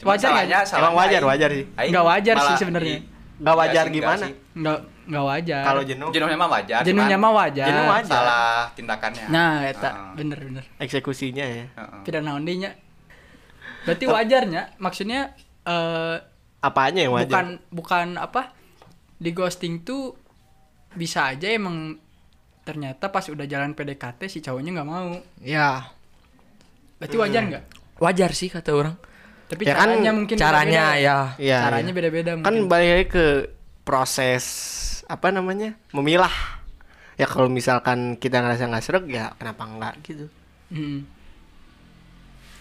Speaker 3: Cuma
Speaker 2: Wajar
Speaker 3: salahnya-
Speaker 2: nggak?
Speaker 3: salahnya
Speaker 4: Emang wajar,
Speaker 3: aing-
Speaker 4: wajar sih.
Speaker 3: aing
Speaker 2: Nggak wajar
Speaker 3: malah
Speaker 2: sih sebenarnya.
Speaker 3: di-
Speaker 4: Nggak wajar
Speaker 3: Iya sih,
Speaker 4: gimana?
Speaker 3: nggak sih.
Speaker 2: nggak nggak wajar
Speaker 4: Kalau jenuh,
Speaker 3: Jenuhnya mah wajar.
Speaker 2: jenuhnya
Speaker 3: cuman
Speaker 2: mah wajar
Speaker 4: Jenuh wajar.
Speaker 3: Salah tindakannya. Ah.
Speaker 2: nah eta
Speaker 3: Heeh.
Speaker 2: bener bener
Speaker 4: eksekusinya ya.
Speaker 3: Heeh.
Speaker 2: tidak naon deh nya berarti wajarnya maksudnya eh
Speaker 4: Apanya yang wajar?
Speaker 2: bukan bukan apa di ghosting tuh bisa aja emang ternyata pas udah jalan PDKT si cowoknya nggak mau
Speaker 1: Ya,
Speaker 2: berarti wajar nggak
Speaker 1: wajar sih kata orang.
Speaker 2: tapi
Speaker 4: Hmm. Ya kan,
Speaker 2: caranya mungkin
Speaker 1: Caranya
Speaker 2: beda-beda.
Speaker 1: ya.
Speaker 4: Iya,
Speaker 2: caranya
Speaker 4: iya.
Speaker 2: beda-beda
Speaker 4: Kan
Speaker 2: mungkin.
Speaker 4: balik lagi ke proses apa namanya? Memilah. Ya kalau misalkan kita ngerasa nggak sreg ya kenapa enggak gitu.
Speaker 2: Mm.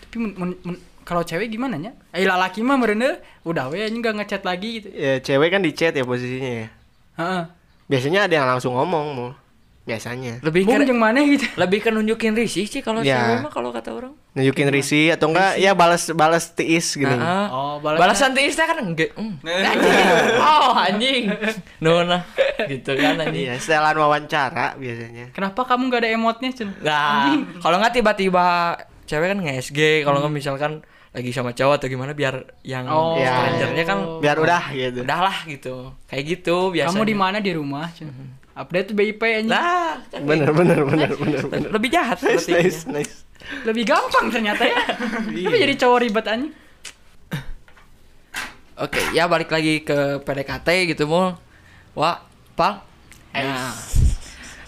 Speaker 2: tapi mun- mun- mun- kalau cewek gimana nya eh lalaki mah merende udah we anjing nggak ngechat lagi gitu
Speaker 4: Ya cewek kan di chat ya posisinya ya.
Speaker 2: Heeh.
Speaker 4: Biasanya ada yang langsung ngomong mau. Biasanya.
Speaker 1: Lebih
Speaker 2: bung
Speaker 1: ke
Speaker 2: jeung mana gitu
Speaker 1: lebih ke nunjukin risih sih kalau
Speaker 4: Ya.
Speaker 1: cewek mah kalau kata orang.
Speaker 4: Nunjukin risi atau enggak ya balas balas tiis gitu.
Speaker 1: Nah,
Speaker 2: Oh,
Speaker 1: Ah,
Speaker 2: balasnya-
Speaker 1: balasan tiisnya kan enggak. mm. Oh, anjing. Nona gitu kan anjing.
Speaker 4: Iya, setelan wawancara biasanya.
Speaker 2: kenapa kamu nggak ada emotnya cen
Speaker 1: Nah, kalau nggak tiba-tiba cewek kan nge-SG, kalau nggak misalkan lagi sama cowok atau gimana biar yang
Speaker 2: Hmm. Oh.
Speaker 4: Iya.
Speaker 1: strangernya kan
Speaker 4: Biar udah gitu.
Speaker 1: udahlah gitu. Kayak gitu biasanya.
Speaker 2: kamu di mana di rumah cen update tuh BIP anjing
Speaker 1: Nah, kan
Speaker 4: Bener bener bener bener bener.
Speaker 1: lebih jahat
Speaker 4: Nice
Speaker 1: sepertinya.
Speaker 4: nice nice.
Speaker 2: lebih gampang ternyata ya tapi jadi cowok ribet anjing
Speaker 1: Oke, ya balik lagi ke PDKT gitu mul. Wah, Pal. Nah,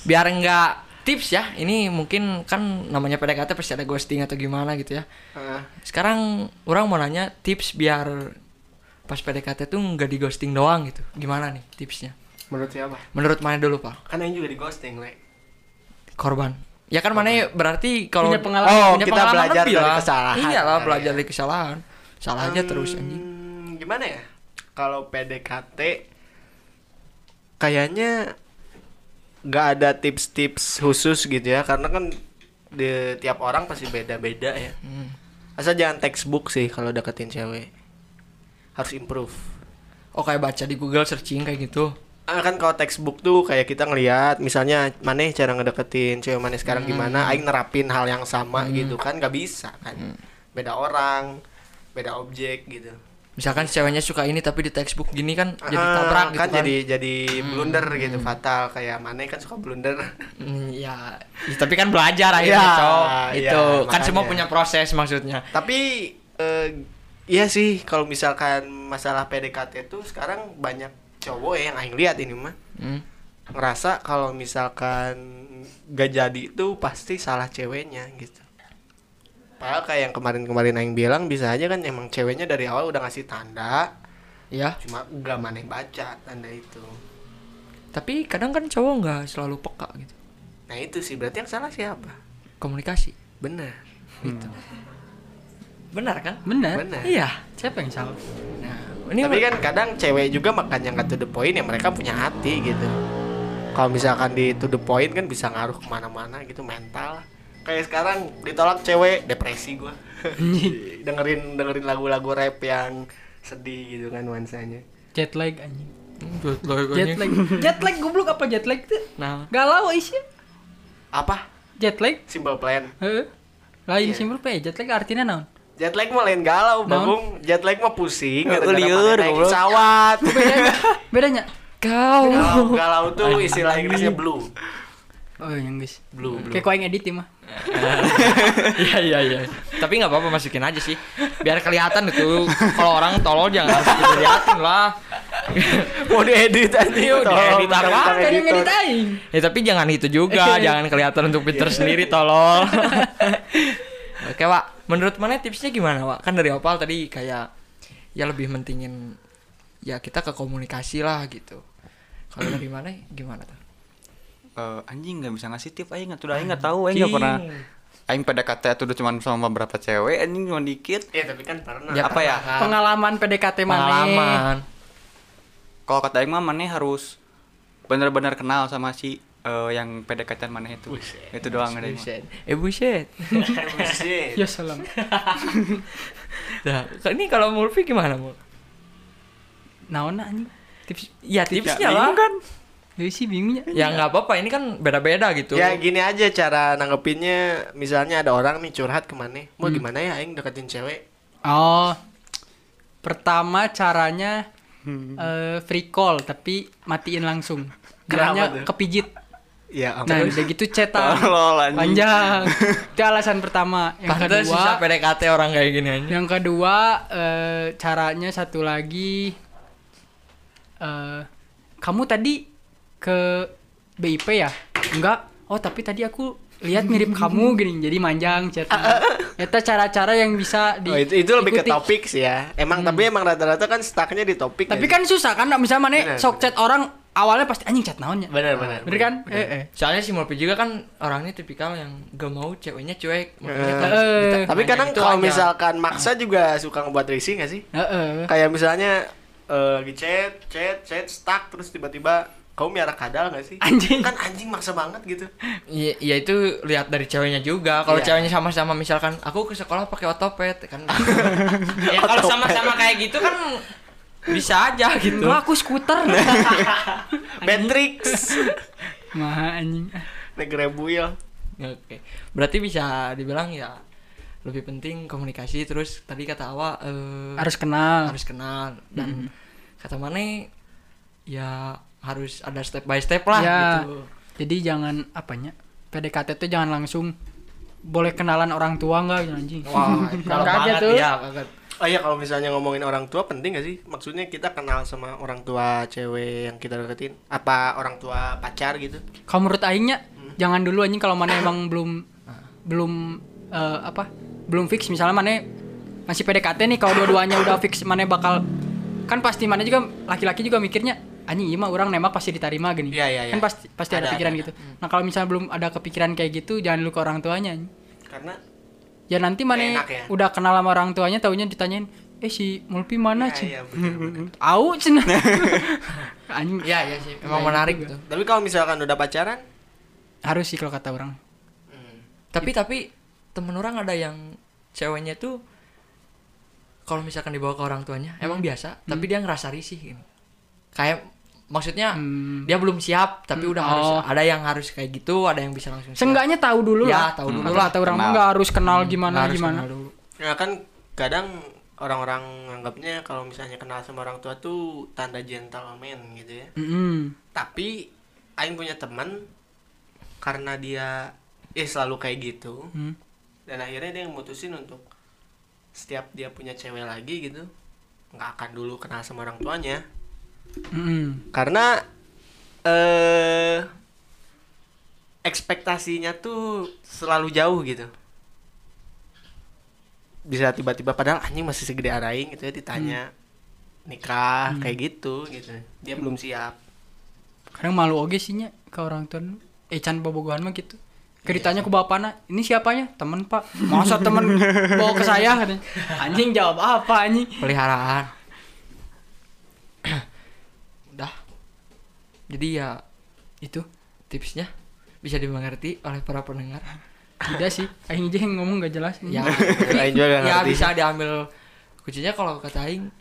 Speaker 1: biar nggak tips ya, ini mungkin kan namanya PDKT pasti ada ghosting atau gimana gitu ya.
Speaker 4: Heeh.
Speaker 1: Sekarang orang mau nanya tips biar pas PDKT tuh nggak di ghosting doang gitu. Gimana nih tipsnya?
Speaker 4: Menurut siapa?
Speaker 1: Menurut mana dulu Pak?
Speaker 4: Kan yang juga di ghosting, Le.
Speaker 1: Korban. Ya kan mana berarti kalau
Speaker 2: Punya pengalaman.
Speaker 4: Oh,
Speaker 1: punya
Speaker 4: kita
Speaker 1: pengalaman
Speaker 4: belajar
Speaker 1: lebih
Speaker 4: dari
Speaker 1: lah.
Speaker 4: kesalahan.
Speaker 1: Iyalah
Speaker 4: Nah,
Speaker 1: belajar
Speaker 4: ya.
Speaker 1: dari kesalahan. Salah aja
Speaker 4: Hmm,
Speaker 1: terus anjing.
Speaker 4: Gimana ya? Kalau PDKT kayaknya nggak ada tips-tips khusus gitu ya karena kan di tiap orang pasti beda-beda ya.
Speaker 1: Hmm.
Speaker 4: Asal jangan textbook sih kalau deketin cewek. Harus improve.
Speaker 1: Oh kayak baca di Google searching kayak gitu.
Speaker 4: Ah, kan kalau textbook tuh kayak kita ngelihat misalnya maneh cara ngedeketin cewek
Speaker 1: Hmm.
Speaker 4: maneh sekarang gimana aing nerapin hal yang sama gitu kan nggak bisa kan
Speaker 1: Hmm.
Speaker 4: beda orang beda objek gitu
Speaker 1: Misalkan si ceweknya suka ini tapi di textbook gini kan jadi
Speaker 4: Ah,
Speaker 1: tabrak gitu
Speaker 4: kan,
Speaker 1: kan.
Speaker 4: jadi jadi blunder gitu fatal kayak maneh kan suka blunder
Speaker 1: Hmm, ya. Ya, tapi kan belajar akhirnya,
Speaker 4: Ya,
Speaker 1: Cok.
Speaker 4: ya,
Speaker 1: Itu kan
Speaker 4: makanya.
Speaker 1: semua punya proses maksudnya.
Speaker 4: tapi eh, iya sih kalau misalkan masalah PDKT tuh sekarang banyak cowok ya yang aing lihat ini mah
Speaker 1: Hmm.
Speaker 4: ngerasa kalau misalkan gak jadi itu pasti salah ceweknya gitu. Padahal kayak yang kemarin-kemarin Aing bilang bisa aja kan emang ceweknya dari awal udah ngasih tanda,
Speaker 1: Ya,
Speaker 4: cuma gak maneh baca tanda itu.
Speaker 1: tapi kadang kan cowok nggak selalu peka gitu.
Speaker 4: Nah itu sih berarti yang salah siapa?
Speaker 1: Komunikasi.
Speaker 4: Bener,
Speaker 1: Benar kan?
Speaker 2: bener
Speaker 4: bener.
Speaker 1: Iya.
Speaker 2: siapa yang salah
Speaker 1: Nah, ini
Speaker 4: Tapi kan kadang cewek juga makanya nggak to the point ya mereka punya hati gitu. Kalau misalkan di to the point kan bisa ngaruh kemana-mana gitu mental. Kayak sekarang ditolak cewek depresi gua. dengerin dengerin lagu-lagu rap yang sedih gitu kan nuansanya.
Speaker 2: jet lag anjing
Speaker 1: Jet lag
Speaker 2: jet
Speaker 1: anjing.
Speaker 2: lag jet lag goblok apa jet lag tuh
Speaker 1: Nah,
Speaker 2: galau isnya
Speaker 4: Apa?
Speaker 2: jet lag
Speaker 4: Simple plan.
Speaker 2: Heeh. lain simpel pe jet lag artinya naon
Speaker 4: Jet lag mah lain
Speaker 2: Naon?
Speaker 4: galau, Bagong. Jet lag mah pusing, gara-gara
Speaker 1: liur,
Speaker 4: pada naik
Speaker 1: goblok.
Speaker 4: pesawat.
Speaker 2: bedanya bedanya
Speaker 1: kau.
Speaker 4: galau, galau tuh istilah Inggrisnya blue.
Speaker 2: oh yang guys
Speaker 4: Blue, blue.
Speaker 2: kayak kau yang edit ya, mah
Speaker 1: Iya iya iya. Tapi nggak apa-apa masukin aja sih. Biar kelihatan itu kalau orang tolol jangan harus dilihatin lah.
Speaker 4: Mau diedit aja.
Speaker 1: Iya,
Speaker 4: tolong,
Speaker 1: diedit
Speaker 4: bentar-bentar
Speaker 1: apaan?
Speaker 2: kan yang
Speaker 4: editor.
Speaker 2: edit aing
Speaker 1: Ya tapi jangan itu juga, jangan kelihatan untuk Peter sendiri tolol. Oke, Wak. Menurut mana tipsnya gimana, Wak? Kan dari Opal tadi kayak ya lebih mentingin ya kita ke komunikasi lah gitu. Kalau dari mana gimana tuh?
Speaker 3: eh, anjing nggak bisa ngasih tip aing atuh aing nggak tahu aing nggak pernah aing PDKT atuh udah cuma sama beberapa cewek anjing cuma dikit
Speaker 4: ya tapi kan pernah
Speaker 1: Ya,
Speaker 3: apa ya
Speaker 1: pernah.
Speaker 2: Pengalaman PDKT mana?
Speaker 1: pengalaman
Speaker 3: kalau kata aing mah maneh harus benar-benar kenal sama si eh, yang PDKT maneh itu itu doang ada aing mah.
Speaker 1: Buset. eh buset
Speaker 4: Iya, Buset.
Speaker 2: Ya salam.
Speaker 1: nah ini kalau Murphy gimana Mul?
Speaker 2: Naon anjing? Tips
Speaker 1: ya tipsnya lah
Speaker 3: bingung kan?
Speaker 2: Deui sih bingungnya.
Speaker 1: ya nggak apa-apa ini kan beda-beda gitu
Speaker 4: Iya. Ya gini aja cara nanggepinnya Misalnya ada orang nih curhat ke mana Mau
Speaker 2: Hmm.
Speaker 4: gimana ya Aing deketin cewek
Speaker 2: Oh. Pertama caranya
Speaker 4: Hmm.
Speaker 2: eh, free call tapi matiin langsung.
Speaker 4: Kenapa tuh?
Speaker 2: Caranya kepijit.
Speaker 4: Ya
Speaker 2: Nah,
Speaker 4: ampun
Speaker 2: udah gitu cetan.
Speaker 3: Tolol anjing.
Speaker 2: Panjang. Itu alasan pertama. Yang
Speaker 1: Pantes
Speaker 2: kedua,
Speaker 1: susah PDKT orang kayak gini aja
Speaker 2: yang kedua eh, caranya satu lagi eh kamu tadi ke BIP ya? Enggak. Oh, tapi tadi aku lihat mirip kamu gini. Jadi manjang chatnya. Itu cara-cara yang bisa di
Speaker 4: Oh, itu, itu lebih ke
Speaker 2: ikuti.
Speaker 4: topik sih ya Emang tapi emang rata-rata kan stucknya di topik
Speaker 2: Tapi
Speaker 4: ya.
Speaker 2: kan susah kan misalnya mana
Speaker 4: Benar,
Speaker 2: sok chat orang awalnya pasti anjing chat naonnya.
Speaker 4: Benar, benar,
Speaker 2: Bener kan?
Speaker 4: benar.
Speaker 2: Eh, eh.
Speaker 1: Soalnya si Murphy juga kan orangnya tipikal yang gak mau ceweknya cuek Makanya kan
Speaker 4: Eh.
Speaker 1: kalau
Speaker 2: Eh.
Speaker 1: ditanya
Speaker 4: Tapi kadang
Speaker 1: gitu
Speaker 4: kalau
Speaker 1: aja.
Speaker 4: misalkan maksa juga suka ngebuat risih gak sih?
Speaker 2: Heeh.
Speaker 4: Kayak misalnya eh, lagi chat, chat, chat, stuck terus tiba-tiba kamu miara kadal gak sih?
Speaker 2: Anjing.
Speaker 4: Kan anjing maksa banget gitu.
Speaker 1: Iya ya itu lihat dari ceweknya juga. Kalau
Speaker 4: Iya.
Speaker 1: ceweknya sama-sama misalkan aku ke sekolah pakai otopet kan. ya kalau
Speaker 4: Otopet.
Speaker 1: sama-sama kayak gitu kan bisa aja gitu.
Speaker 2: Enggak, aku skuter.
Speaker 4: Matrix.
Speaker 2: Maha anjing.
Speaker 4: Negrebuil.
Speaker 1: Oke. Berarti bisa dibilang ya lebih penting komunikasi terus tadi kata Awa eh,
Speaker 2: Harus kenal.
Speaker 1: harus kenal dan kata Mane ya harus ada step by step lah
Speaker 2: Ya.
Speaker 1: gitu.
Speaker 2: Jadi jangan apanya? PDKT tuh jangan langsung boleh kenalan orang tua enggak gitu, anjing.
Speaker 1: Wah, kalau
Speaker 2: Kaget
Speaker 1: banget
Speaker 2: tuh.
Speaker 1: ya, banget.
Speaker 4: Oh iya kalau misalnya ngomongin orang tua penting gak sih? Maksudnya kita kenal sama orang tua cewek yang kita deketin apa orang tua pacar gitu?
Speaker 2: Kalau menurut aingnya
Speaker 4: Hmm.
Speaker 2: jangan dulu anjing kalau mana emang belum
Speaker 4: Ah.
Speaker 2: belum eh, apa? Belum fix misalnya mana masih PDKT nih kalau dua-duanya udah fix mana bakal kan pasti mana juga laki-laki juga mikirnya anjing iya mah orang nembak pasti diterima gini.
Speaker 4: Iya, iya, iya.
Speaker 2: Kan pasti pasti ada,
Speaker 4: Ada,
Speaker 2: pikiran
Speaker 4: ada, Hmm.
Speaker 2: gitu. Nah, kalau misalnya belum ada kepikiran kayak gitu jangan dulu ke orang tuanya. anjing.
Speaker 4: Karena
Speaker 2: Ya nanti mana
Speaker 4: Enak ya.
Speaker 2: udah kenal sama orang tuanya taunya ditanyain, "Eh si Mulpi mana, Cing?"
Speaker 4: ya, iya, bener-bener.
Speaker 2: Au cina. Anjing.
Speaker 1: Iya, iya sih. Emang menarik tuh.
Speaker 4: Tapi kalau misalkan udah pacaran,
Speaker 2: Harus sih kalau kata orang.
Speaker 1: Tapi
Speaker 2: Gitu.
Speaker 1: tapi temen orang ada yang ceweknya tuh kalau misalkan dibawa ke orang tuanya
Speaker 2: Hmm.
Speaker 1: emang biasa, tapi dia ngerasa risih gitu. Kayak maksudnya
Speaker 2: Hmm.
Speaker 1: dia belum siap, tapi udah harus
Speaker 2: Oh.
Speaker 1: ada yang harus kayak gitu, ada yang bisa langsung. siap.
Speaker 2: Seenggaknya tahu dulu
Speaker 1: Ya,
Speaker 2: lah.
Speaker 1: tahu dulu
Speaker 2: Kalau
Speaker 1: lah. Hmm,
Speaker 2: Kata orang mah
Speaker 3: Kenal.
Speaker 2: nggak harus kenal gimana
Speaker 1: Harus
Speaker 2: gimana.
Speaker 1: kenal dulu.
Speaker 4: ya kan kadang orang-orang anggapnya kalau misalnya kenal sama orang tua tuh tanda gentleman gitu ya.
Speaker 2: Mm-mm.
Speaker 4: Tapi aing punya teman karena dia ya selalu kayak gitu
Speaker 2: Hmm.
Speaker 4: dan akhirnya dia mutusin untuk setiap dia punya cewek lagi gitu nggak akan dulu kenal sama orang tuanya
Speaker 2: Mm-mm.
Speaker 4: karena eh ekspektasinya tuh selalu jauh gitu bisa tiba-tiba padahal anjing masih segede araing gitu ya ditanya
Speaker 1: Hmm.
Speaker 4: nikah kayak gitu gitu dia belum siap
Speaker 2: Kadang malu oge sih nya ke orang tua. nu. Eh can bobogohan mah gitu. Ceritanya ke bapakna, ini siapanya? Temen pak Masa temen bawa ke saya? katanya. Anjing jawab apa anjing?
Speaker 1: Peliharaan. udah. Jadi ya itu tipsnya bisa dimengerti oleh para pendengar.
Speaker 2: Tidak sih, Aing aja yang ngomong gak jelas
Speaker 1: ya
Speaker 4: Lain juga nggak
Speaker 1: ya
Speaker 4: ngerti.
Speaker 1: bisa diambil kuncinya kalau kata Aing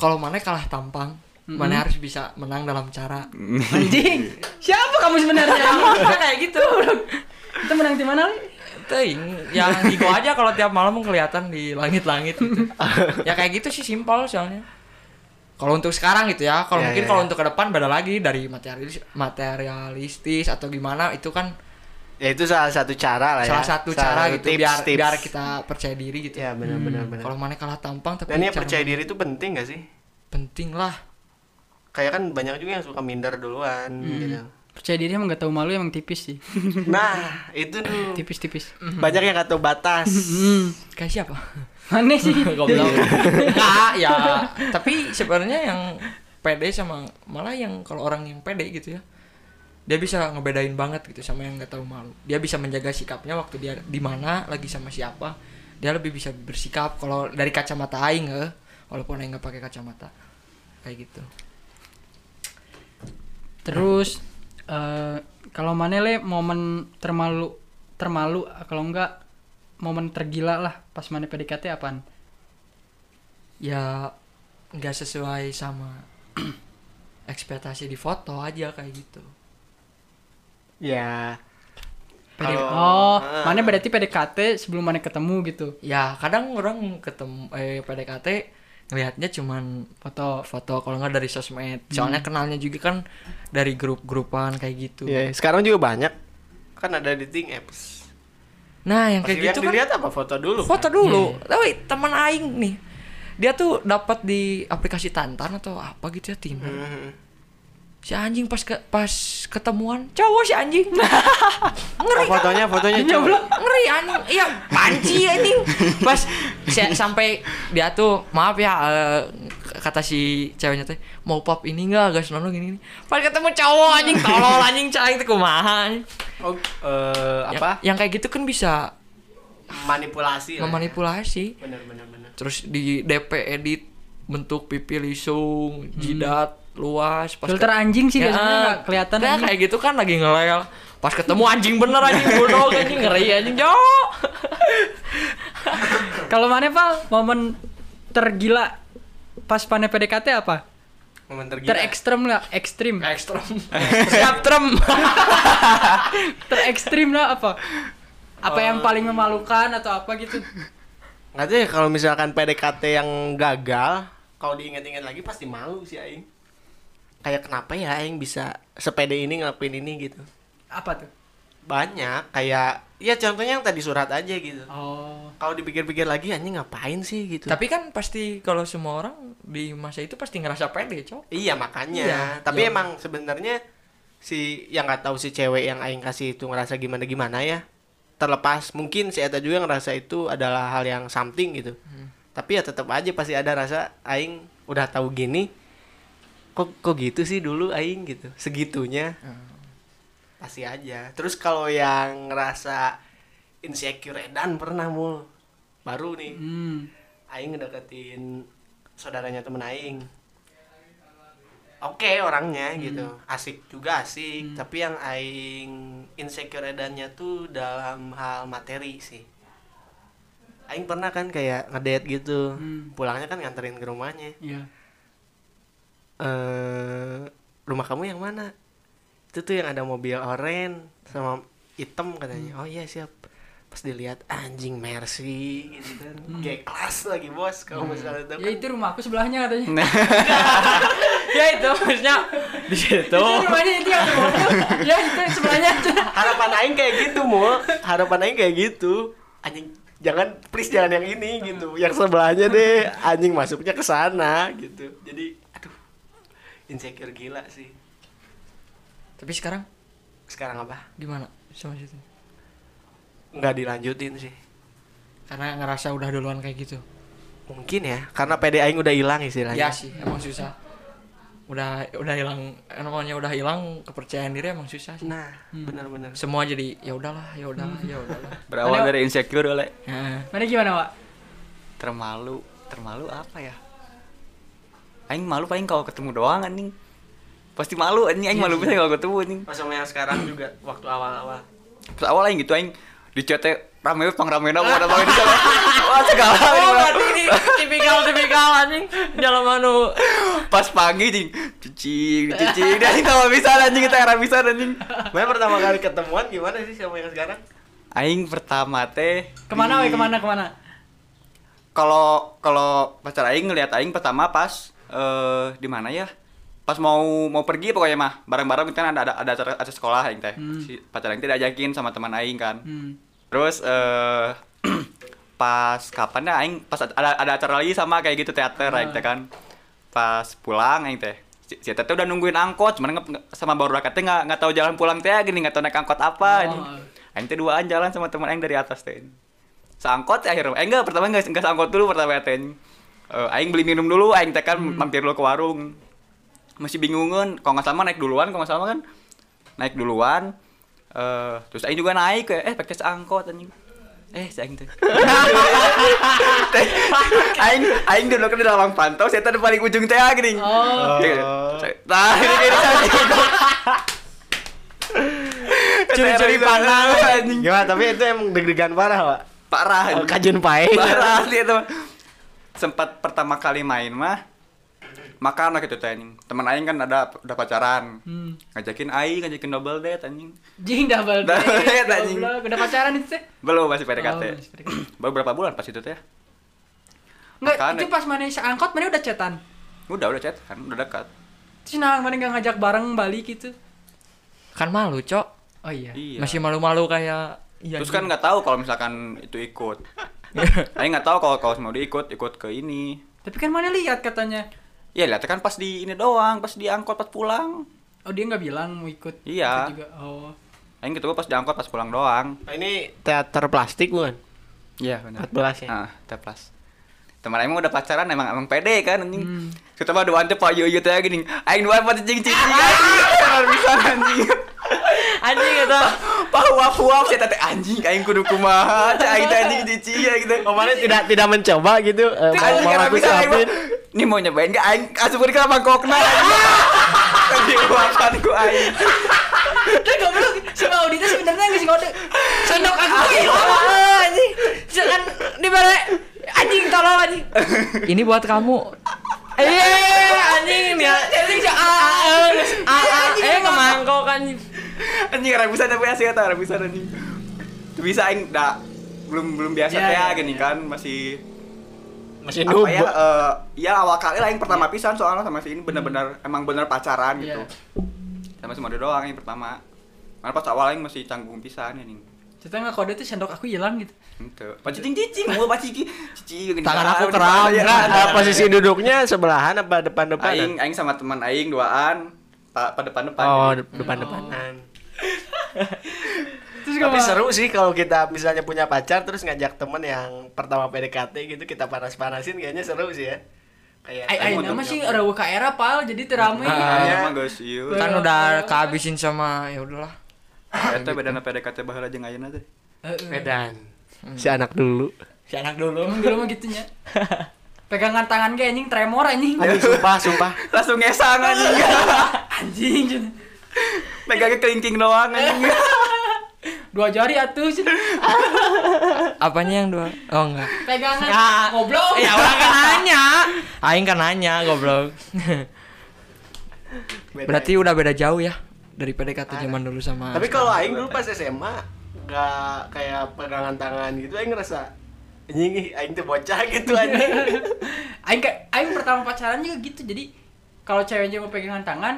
Speaker 1: kalau mana kalah tampang mana harus bisa menang dalam cara
Speaker 2: Anjing, siapa kamu sebenarnya?
Speaker 1: kayak gitu
Speaker 2: Kita menang di mana? Li?
Speaker 1: Ting, yang ego ya aja kalau tiap malam kelihatan di langit-langit gitu. ya kayak gitu sih simpel soalnya kalau untuk sekarang gitu ya kalau
Speaker 4: Ya,
Speaker 1: mungkin
Speaker 4: ya,
Speaker 1: kalau
Speaker 4: ya.
Speaker 1: untuk ke depan beda lagi dari materialis materialistis atau gimana itu kan
Speaker 4: ya itu salah satu cara lah ya
Speaker 1: salah satu cara gitu
Speaker 4: tips,
Speaker 1: biar
Speaker 4: tips.
Speaker 1: biar kita percaya diri gitu
Speaker 4: ya benar-benar benar
Speaker 1: kalau mana kalah tampang tapi
Speaker 4: dan ya
Speaker 1: cara-
Speaker 4: percaya diri itu penting gak sih
Speaker 1: penting lah
Speaker 4: kayak kan banyak juga yang suka minder duluan
Speaker 1: Hmm.
Speaker 4: gitu
Speaker 2: Percaya diri emang gak tahu malu emang tipis sih.
Speaker 4: nah itu tuh
Speaker 2: Tipis-tipis.
Speaker 1: hmm.
Speaker 4: banyak yang gak tahu batas
Speaker 1: kayak siapa
Speaker 2: Mana sih?
Speaker 1: Goblok. Enggak, ya. Tapi sebenarnya yang pede sama malah yang kalau orang yang pede gitu ya. dia bisa ngebedain banget gitu sama yang nggak tahu malu dia bisa menjaga sikapnya waktu dia di mana lagi sama siapa dia lebih bisa bersikap kalau dari kacamata aing eh, walaupun aing nggak pakai kacamata kayak gitu
Speaker 2: Terus eh kalau mana le momen termalu termalu kalau enggak momen tergila lah pas mana PDKT apaan?
Speaker 1: ya nggak sesuai sama ekspektasi di foto aja kayak gitu
Speaker 4: ya
Speaker 2: PD
Speaker 4: Kalau-
Speaker 2: oh,
Speaker 4: Ah.
Speaker 2: mana berarti PDKT sebelum mana ketemu gitu.
Speaker 1: ya kadang orang ketemu eh PDKT ngelihatnya cuman
Speaker 2: Foto.
Speaker 1: foto kalau nggak dari sosmed soalnya kenalnya juga kan dari grup-grupan kayak gitu
Speaker 4: ya sekarang juga banyak kan ada dating apps
Speaker 1: nah yang
Speaker 4: Pas
Speaker 1: kayak
Speaker 4: dilihat,
Speaker 1: gitu kan
Speaker 4: dilihat apa foto dulu
Speaker 1: foto
Speaker 4: kan?
Speaker 1: dulu tapi teman aing nih dia tuh dapat di aplikasi Tantan atau apa gitu ya Tinder
Speaker 4: Mhm.
Speaker 1: si anjing pas ke, pas ketemuan cowok si anjing ngeri
Speaker 4: Oh, fotonya fotonya
Speaker 1: Iya,
Speaker 4: cowok.
Speaker 1: ngeri anjing iya panci anjing pas saya sampai dia tuh maaf ya eh, kata si ceweknya teh mau pop ini enggak guys nono gini, gini pas ketemu cowok anjing tolol anjing cahing tuh kumaha anjing.
Speaker 4: Oh, eh,
Speaker 1: Yang-
Speaker 4: apa
Speaker 1: yang kayak gitu kan bisa
Speaker 4: manipulasi lah ya.
Speaker 1: memanipulasi
Speaker 4: bener bener bener
Speaker 1: terus di DP edit bentuk pipi lisung jidat luas
Speaker 2: Filter anjing sih
Speaker 1: Ya,
Speaker 2: biasanya nggak kelihatan
Speaker 1: nah,
Speaker 2: anjing.
Speaker 1: kayak gitu kan lagi ngelel pas ketemu anjing bener anjing bodoh anjing ngeri anjing jauh
Speaker 2: Kalau mana Pal, momen tergila pas mana PDKT apa?
Speaker 4: momen tergila
Speaker 2: Terekstrem lah, ekstrim.
Speaker 1: ekstrom
Speaker 2: Siap trem. Terekstrim lah apa? Apa yang paling memalukan atau apa gitu?
Speaker 4: nggak tahu ya kalau misalkan PDKT yang gagal kalau diingat-ingat lagi pasti malu sih Aing kayak kenapa ya Aing bisa sepede ini ngelakuin ini gitu
Speaker 2: Apa tuh?
Speaker 4: banyak kayak ya contohnya yang tadi surat aja gitu
Speaker 2: Oh.
Speaker 4: kalau dipikir-pikir lagi anjing ngapain sih gitu
Speaker 1: tapi kan pasti kalau semua orang di masa itu pasti ngerasa pede cok
Speaker 4: iya makanya
Speaker 1: Iya,
Speaker 4: tapi
Speaker 1: iya.
Speaker 4: emang sebenarnya si yang nggak tahu si cewek yang Aing kasih itu ngerasa gimana gimana ya terlepas mungkin si Eta juga ngerasa itu adalah hal yang something gitu
Speaker 1: Hmm.
Speaker 4: tapi ya tetap aja pasti ada rasa Aing udah tahu gini kok kok gitu sih dulu Aing gitu segitunya
Speaker 1: Hmm.
Speaker 4: pasti aja terus kalau yang ngerasa insecure dan pernah mul baru nih
Speaker 2: Hmm.
Speaker 4: Aing ngedeketin saudaranya temen Aing. Oke orangnya gitu, asik juga asik. Tapi yang Aing insecure edannya tuh dalam hal materi sih. Aing pernah kan kayak ngedate gitu,
Speaker 2: Hmm.
Speaker 4: pulangnya kan nganterin ke rumahnya.
Speaker 2: Iya.
Speaker 4: Eh, rumah kamu yang mana? Itu tuh yang ada mobil oranye sama hitam katanya. Oh iya siap. Pas dilihat anjing Mercy gitu kan. Kayak kelas lagi bos kalau misalnya itu
Speaker 2: Ya itu rumahku sebelahnya katanya.
Speaker 1: ya itu maksudnya di situ
Speaker 2: Itu rumahnya itu yang ada mobil. ya itu sebelahnya.
Speaker 4: harapan aing kayak gitu mul harapan aing kayak gitu anjing jangan please jangan yang ini gitu yang sebelahnya deh anjing masuknya ke sana gitu jadi aduh insecure gila sih
Speaker 1: tapi sekarang
Speaker 4: sekarang apa
Speaker 1: gimana sama situ
Speaker 4: nggak dilanjutin sih
Speaker 1: karena ngerasa udah duluan kayak gitu
Speaker 4: mungkin ya karena PD aing udah hilang
Speaker 1: ya
Speaker 4: istilahnya
Speaker 1: sih emang susah udah udah hilang namanya udah hilang kepercayaan diri emang susah sih
Speaker 4: nah benar-benar
Speaker 1: semua jadi ya udahlah ya udahlah ya udahlah
Speaker 3: Berawal dari insecure oleh
Speaker 1: Nah,
Speaker 2: Mana gimana, Wak?
Speaker 3: termalu, termalu apa ya? Aing malu paling kalau ketemu doang anjing. Pasti malu anjing,
Speaker 1: Iya,
Speaker 3: aing malu bisa kalau ketemu anjing.
Speaker 4: pas sama yang sekarang juga waktu awal-awal
Speaker 3: Pas awal aing gitu aing di chat teh rame pang rame apa ada di sana. Wah segala aing
Speaker 1: Oh,
Speaker 3: malu.
Speaker 1: berarti ini tipikal-tipikal anjing dalam anu
Speaker 3: Pas pagi anjing cuci, cuci dan aing tahu bisa anjing kita era bisa anjing.
Speaker 4: Memang pertama kali ketemuan gimana sih sama yang sekarang
Speaker 3: Aing pertama teh
Speaker 2: Kemana,
Speaker 3: di-
Speaker 2: Wak? Kemana, kemana?
Speaker 3: kalau kalau pacar aing ngelihat aing pertama pas eh di mana ya? Pas mau mau pergi pokoknya mah bareng-bareng kan ada ada ada acara, acara sekolah aing teh.
Speaker 2: Hmm.
Speaker 3: Si pacar aing teh diajakin sama teman aing kan.
Speaker 2: Hmm.
Speaker 3: Terus eh pas kapan ya aing pas ada ada acara lagi sama kayak gitu teater aing teh kan. Pas pulang aing teh si si Eta teh udah nungguin angkot, cuman nge- nge- sama baru rakyat teh nggak nggak tahu jalan pulang teh gini nggak tahu naik angkot
Speaker 2: Oh.
Speaker 3: apa ini. Aing teh duaan jalan sama teman aing dari atas teh. Sangkot teh akhirnya. Eh enggak, pertama enggak enggak sangkot dulu pertama teh. Eh, aing beli minum dulu, aing teh kan mampir dulu ke warung. Masih bingungan, kalau nggak salah mah naik duluan, kalau nggak salah mah kan naik duluan eh terus aing juga naik kayak eh pakai angkot anjing eh si aing teh Teh, aing aing dulu kan di lawang pantau saya teh di paling ujung teh gini
Speaker 2: Oh.
Speaker 3: nah ini gini saya
Speaker 1: Curi-curi
Speaker 3: panang anjing
Speaker 4: Gimana? Tapi itu emang deg-degan parah, Pak.
Speaker 3: parah
Speaker 4: Oh,
Speaker 3: anjing.
Speaker 4: Kajun pae.
Speaker 3: Parah sih teman. Sempat pertama kali main mah makan lah gitu teh anjing. Teman aing kan ada udah pacaran.
Speaker 2: Hmm.
Speaker 3: Ngajakin aing, ngajakin double date anjing.
Speaker 2: Jing double date.
Speaker 3: Double date, anjing.
Speaker 2: goblok. Udah pacaran itu teh.
Speaker 3: Belum masih PDKT.
Speaker 2: Oh, masih PDKT.
Speaker 3: Baru berapa bulan pas itu teh?
Speaker 2: Enggak,
Speaker 3: Makan,
Speaker 2: itu
Speaker 3: eh.
Speaker 2: pas mana seangkot mana udah cetan.
Speaker 3: Udah udah chat kan, udah dekat.
Speaker 2: Terus nah mana nggak ngajak bareng balik gitu.
Speaker 1: kan malu cok
Speaker 2: Oh iya.
Speaker 3: Iya.
Speaker 1: masih malu-malu kayak iya,
Speaker 3: Terus kan
Speaker 1: iya.
Speaker 3: nggak tahu kalau misalkan itu ikut. Aing nggak tahu kalau kalau mau diikut, ikut ke ini.
Speaker 2: Tapi kan mana lihat katanya.
Speaker 3: Ya lihat kan pas di ini doang, pas diangkut pas pulang.
Speaker 2: Oh dia nggak bilang mau ikut.
Speaker 3: Iya.
Speaker 2: Ikut juga. Oh.
Speaker 3: Aing ketemu pas diangkut pas pulang doang.
Speaker 4: Ini teater plastik bukan?
Speaker 3: Iya benar.
Speaker 4: 14 ya?
Speaker 3: Ah, teplas. Teman aing mah udah pacaran emang emang pede kan anjing.
Speaker 2: Hmm.
Speaker 3: Kita mah doan teh payu ieu teh gini. Aing doan mah cicing cicing anjing. Tenar bisa anjing.
Speaker 1: anjing itu
Speaker 3: Pah waf waf saya teh anjing aing kudu kumaha teh aing teh anjing cicing ya gitu.
Speaker 4: Kemarin tidak tidak mencoba gitu eh, mau
Speaker 3: Anjing
Speaker 4: mau
Speaker 3: kenapa
Speaker 4: aku
Speaker 3: bisa aing mah.
Speaker 4: siapin.
Speaker 3: Ini mau nyobain Ah, enggak aing asupkeun ka mangkokna anjing. Tadi kuatan ku aing.
Speaker 2: Tapi goblok si Maudita sebenarnya nggak sih ngode. Sendok aku
Speaker 1: Ah, iya.
Speaker 2: hilang anjing. Jangan dibalik. Anjing tolong anjing.
Speaker 1: ini buat kamu
Speaker 2: Eh anjing dia. Anjing si Aan.
Speaker 1: ah, eh kemangkok kan
Speaker 3: Anjing rebusan tapi asli eta rebusan anjing. Tuh bisa aing da belum belum biasa
Speaker 2: Iya,
Speaker 3: teh
Speaker 2: iya,
Speaker 3: gini kan masih
Speaker 4: Masih
Speaker 3: apa ya
Speaker 4: nubuk.
Speaker 3: eh, ya awal kali lah yang pertama pisan soalnya sama si ini bener-bener emang bener pacaran gitu
Speaker 2: Iya.
Speaker 3: sama si Mode doang yang pertama karena pas awal yang masih canggung pisan ya nih
Speaker 2: Cerita nggak kode tuh sendok aku hilang gitu.
Speaker 3: itu pacicing cicing mau paciki cici gini.
Speaker 4: Tangan
Speaker 3: Ah,
Speaker 4: aku
Speaker 3: di
Speaker 4: kram.
Speaker 3: mana ya?
Speaker 4: Nah, eh, posisi duduknya sebelahan apa
Speaker 3: aing
Speaker 4: depan-depanan?
Speaker 3: aing sama teman aing duaan pa, pa depan depan
Speaker 4: Oh, de- depan-depanan.
Speaker 2: Terus
Speaker 4: Tapi
Speaker 2: gimana?
Speaker 4: seru sih kalau kita misalnya punya pacar terus ngajak temen yang pertama PDKT gitu kita panas-panasin kayaknya seru sih ya. Kayak
Speaker 2: Ai ai
Speaker 3: Aing mau
Speaker 2: nama
Speaker 3: jawab.
Speaker 2: sih ada WKR pal jadi terame.
Speaker 4: Ah.
Speaker 3: Iya, mah geus ieu.
Speaker 1: kan udah kehabisin sama ya udahlah
Speaker 3: Eta bedana PDKT baheula jeung ayeuna teh.
Speaker 4: Medan. Si anak dulu.
Speaker 1: si anak dulu
Speaker 2: Emang dulu mah gitunya. Pegangan tangan ge anjing tremor anjing.
Speaker 4: Aduh, sumpah, sumpah.
Speaker 3: Langsung ngesang anjing.
Speaker 2: Anjing.
Speaker 3: Megangnya kelingking doang anjing.
Speaker 2: Dua jari atuh sih.
Speaker 1: apanya yang dua oh enggak
Speaker 2: Pegangan.
Speaker 1: Ya.
Speaker 2: Goblok.
Speaker 1: ya orang kan nanya aing kan nanya goblok
Speaker 4: Beda.
Speaker 1: berarti udah beda jauh ya dari PDKT zaman dulu sama
Speaker 4: Tapi kalau aing dulu pas SMA nggak kayak pegangan tangan gitu aing ngerasa anjing ih, aing tuh bocah gitu anjing.
Speaker 2: Aing kayak aing pertama pacaran juga gitu. Jadi kalau ceweknya mau pegangan tangan,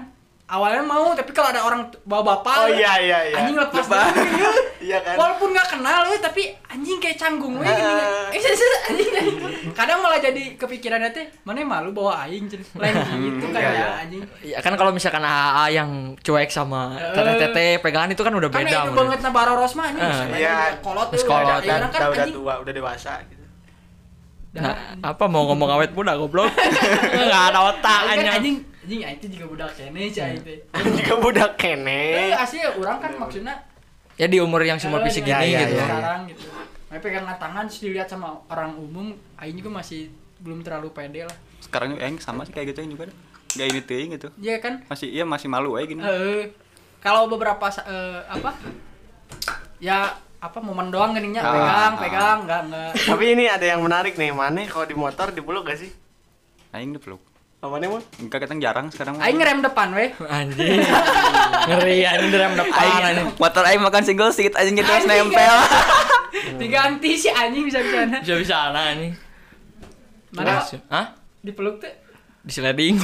Speaker 2: awalnya mau tapi kalau ada orang t- bawa
Speaker 4: Oh,
Speaker 2: bapak
Speaker 4: iya, iya, iya.
Speaker 2: anjing lepas
Speaker 3: Lepas.
Speaker 2: dulu, ya.
Speaker 4: Iya kan?
Speaker 2: walaupun nggak kenal ya, tapi anjing kayak canggung we, gini,
Speaker 4: Ah.
Speaker 2: eh, sis, sis, anjing, anjing. kadang malah jadi kepikirannya teh mana malu bawa aing jadi lain gitu
Speaker 4: Iya,
Speaker 2: kayak
Speaker 4: iya.
Speaker 2: anjing
Speaker 1: ya kan kalau misalkan AA yang cuek sama
Speaker 2: Eh.
Speaker 1: teteh-teteh pegangan itu kan udah beda
Speaker 2: kan itu
Speaker 1: menurut-
Speaker 2: banget nah Baroros mah anjing
Speaker 1: Ah.
Speaker 2: sama
Speaker 4: Iya.
Speaker 2: aja, kolot
Speaker 1: Terus
Speaker 2: tuh,
Speaker 1: kolot,
Speaker 2: ada-
Speaker 4: Udah,
Speaker 2: ada kan
Speaker 4: udah, udah
Speaker 2: anjing.
Speaker 4: tua, udah dewasa gitu.
Speaker 1: Nah, apa mau ngomong awet muda goblok? Enggak ada otak
Speaker 2: Aing kan
Speaker 1: anjing.
Speaker 2: anjing anjing aing teh juga budak kene cai
Speaker 4: Hmm.
Speaker 2: aing teh
Speaker 4: Juga budak kene.
Speaker 2: Eh, asli orang kan maksudnya
Speaker 1: Ya di umur yang semua
Speaker 2: eh,
Speaker 1: fisik
Speaker 2: dengan
Speaker 3: iya,
Speaker 1: gini
Speaker 4: ya,
Speaker 1: gitu.
Speaker 4: ya, ya.
Speaker 2: Sekarang gitu. Tapi pegangan tangan terus dilihat sama orang umum, aing juga masih belum terlalu pede lah.
Speaker 3: Sekarang juga aing sama sih kayak gitu aing juga. Gak ini teuing gitu.
Speaker 2: Iya kan?
Speaker 3: Masih iya masih malu aja gini.
Speaker 2: Eh, kalau beberapa sa- eh, apa? Ya apa momen doang geningnya
Speaker 3: Ah,
Speaker 2: pegang,
Speaker 3: ah.
Speaker 2: pegang, enggak enggak.
Speaker 4: Tapi ini ada yang menarik nih, mana kalau di motor dipeluk gak sih?
Speaker 3: Aing dipeluk.
Speaker 4: Apa nih, Mon?
Speaker 3: Enggak kita jarang sekarang. mah.
Speaker 2: Aing ngerem depan weh.
Speaker 1: Anjing. Ngeri anjing di rem depan anjing.
Speaker 3: motor aing makan single seat anjing gitu terus
Speaker 2: Anjing,
Speaker 3: nempel. Hmm.
Speaker 2: Diganti si anjing bisa bisana
Speaker 1: Bisa bisa anak anjing.
Speaker 2: Mana
Speaker 1: Terus, Hah?
Speaker 2: dipeluk tuh?
Speaker 1: Di sliding.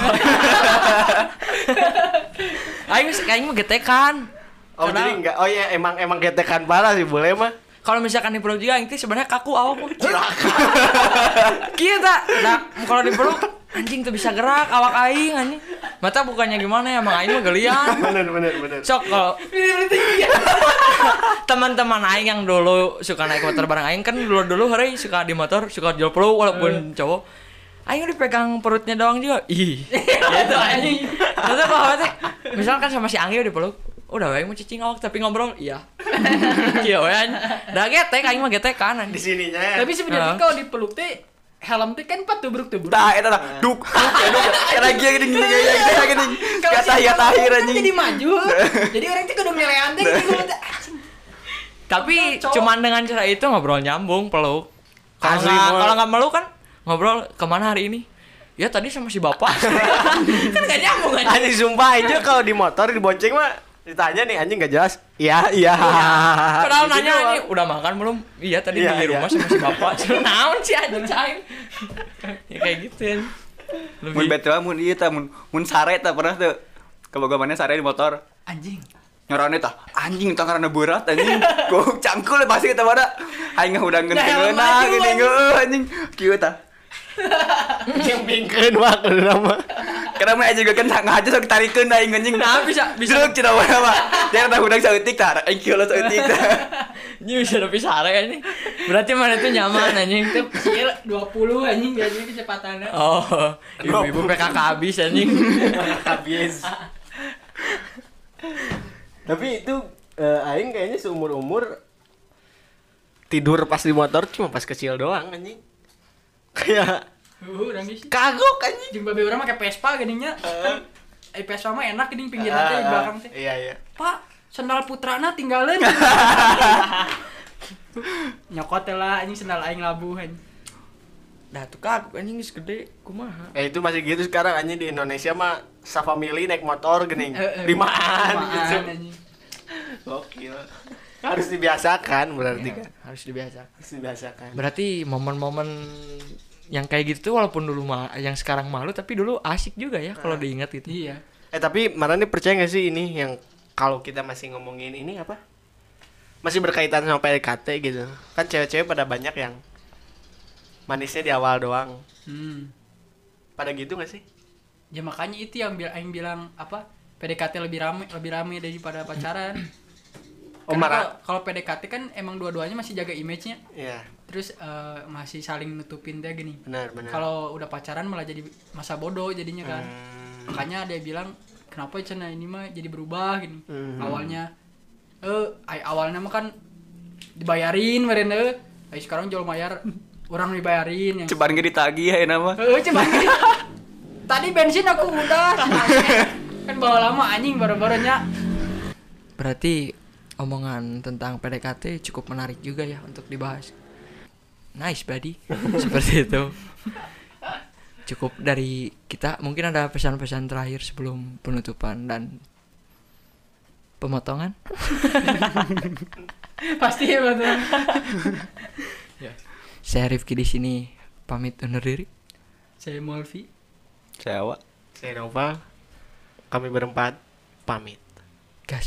Speaker 1: Aing aing mah getekan.
Speaker 4: Oh,
Speaker 1: Karena-
Speaker 4: jadi enggak. Oh iya, emang emang getekan parah sih, boleh mah.
Speaker 1: Kalau misalkan di peluk juga aing teh sebenarnya kaku awak mah. Kita nah kalau di peluk anjing tuh bisa gerak awak aing anjing. Mata bukannya gimana ya, emang aing mah gelian.
Speaker 4: Bener, bener, bener.
Speaker 1: Sok kalau teman-teman aing yang dulu suka naik motor bareng aing kan dulu dulu hari suka di motor suka jual peluk walaupun cowok aing dipegang perutnya doang juga ih
Speaker 2: Itu anjing.
Speaker 1: terus kalau teh misalkan sama kan si Anggi udah peluk udah aing mau cicing awak tapi ngobrol iya iya we anjing da getek aing mah getek kan
Speaker 4: di
Speaker 1: anjing
Speaker 4: sininya
Speaker 2: Tapi
Speaker 1: Ah.
Speaker 2: sebenarnya kalau dipeluk teh helm teh kan pat tubruk-tubruk.
Speaker 3: Tah, itu tah, eh, duk, duk, ya, duk, ya, lagi ya, gini, gini, gini, gini, gini, gini,
Speaker 2: Kalau
Speaker 3: Kata
Speaker 2: si
Speaker 3: ya
Speaker 2: helm
Speaker 3: tahir
Speaker 2: kan
Speaker 3: anjing.
Speaker 2: Jadi maju. Jadi orang teh kudu ngelean teh gitu. Anjing.
Speaker 1: tapi
Speaker 2: Cowok.
Speaker 1: cuman dengan cara itu ngobrol nyambung peluk kalau
Speaker 3: Asli,
Speaker 1: nggak
Speaker 3: Bol.
Speaker 1: kalau nggak meluk kan ngobrol kemana hari ini ya tadi sama si bapak kan nggak nyambung anjing
Speaker 4: anjing sumpah aja kalau di motor dibonceng mah ditanya nih anjing gak jelas iya iya
Speaker 1: Padahal
Speaker 4: Gitu
Speaker 1: nanya
Speaker 4: doang.
Speaker 1: ini udah makan belum? Iya tadi
Speaker 4: Iya,
Speaker 1: di
Speaker 4: iya.
Speaker 1: rumah sama si bapak. Cuma Naon sih aja cain. ya kayak gitu ya.
Speaker 3: Mun
Speaker 1: Lebih
Speaker 3: betul, mun iya tah, mun mun sare tah pernah tuh. Kebogomannya sare di motor.
Speaker 2: Anjing.
Speaker 3: Nyorane tah, anjing tah karena berat anjing. Gok cangkul pasti kita pada. Aing ngah udah
Speaker 2: Nah,
Speaker 3: ngeuteun
Speaker 2: maju,
Speaker 3: gini ngeuh anjing. Kieu tah.
Speaker 4: anjing pingkeun waktu nama
Speaker 3: Karena mah aja gue kan nggak aja sok tarikeun aing anjing.
Speaker 1: Nah, bisa- bisa.
Speaker 3: Jeruk cina mana mah. Jangan tah udang saeutik tah. Aing kieu lo saeutik tah.
Speaker 1: ini bisa lebih sare ini. Berarti mana itu nyaman anjing.
Speaker 2: Itu kecil 20 anjing biasanya kecepatannya.
Speaker 1: Oh, ibu-ibu PKK habis anjing.
Speaker 4: habis tapi itu eh, aing kayaknya seumur umur tidur pas di motor cuma pas kecil doang anjing Iya. kayak
Speaker 2: Uh, orang geus.
Speaker 4: kagok anjing
Speaker 2: Jeung babe urang make Vespa geuninnya. Eh Ah, Vespa mah enak geuning pinggir teh di belakang teh.
Speaker 4: iya iya
Speaker 2: Pak, sandal putrana tinggalin. Nyokot teh lah anjing sandal aing labuh anjing.
Speaker 1: Dah tuh kak, anjing geus gede kumaha.
Speaker 4: Eh itu masih gitu sekarang anjing di Indonesia mah safamili naik motor gini
Speaker 2: Eh, eh,
Speaker 4: limaan gitu.
Speaker 2: limaan, anjing.
Speaker 4: Gokil. Harus dibiasakan
Speaker 2: Iya.
Speaker 4: berarti kan.
Speaker 1: Harus dibiasakan.
Speaker 4: Harus dibiasakan.
Speaker 1: Berarti momen-momen yang kayak gitu tuh walaupun dulu ma- yang sekarang malu tapi dulu asik juga ya kalau diingat gitu.
Speaker 2: Iya.
Speaker 4: Eh tapi Marani percaya gak sih ini yang kalau kita masih ngomongin ini apa? Masih berkaitan sama PDKT gitu. Kan cewek-cewek pada banyak yang manisnya di awal doang.
Speaker 2: Hmm.
Speaker 4: Pada gitu gak sih?
Speaker 2: Ya makanya itu yang bil- yang bilang apa? PDKT lebih rame lebih rame daripada pacaran.
Speaker 4: Oh,
Speaker 2: Karena
Speaker 4: Mara.
Speaker 2: kalau- kalau PDKT kan emang dua-duanya masih jaga image-nya,
Speaker 4: Iya,
Speaker 2: terus eh, masih saling nutupin dia gini.
Speaker 4: benar benar.
Speaker 2: Kalau udah pacaran malah jadi masa bodoh jadinya kan.
Speaker 4: Hmm.
Speaker 2: Makanya ada yang bilang kenapa Cina ini mah jadi berubah gini.
Speaker 4: Hmm.
Speaker 2: Awalnya eh ay- awalnya mah kan dibayarin meren eh Ay, sekarang jual bayar orang dibayarin yang Eh,
Speaker 3: Ceban ge ditagih ya nama.
Speaker 2: Heeh, coba. Tadi bensin aku udah. kan bawa lama anjing baru-barunya.
Speaker 1: Berarti omongan tentang PDKT cukup menarik juga ya untuk dibahas. Nice buddy, seperti itu. Cukup dari kita, mungkin ada pesan-pesan terakhir sebelum penutupan dan pemotongan.
Speaker 2: Pasti ya betul.
Speaker 1: Saya Rifki di sini pamit undur diri.
Speaker 2: Saya Molfi.
Speaker 3: Cewek.
Speaker 4: Saya Nova. Kami berempat pamit.
Speaker 1: Gas.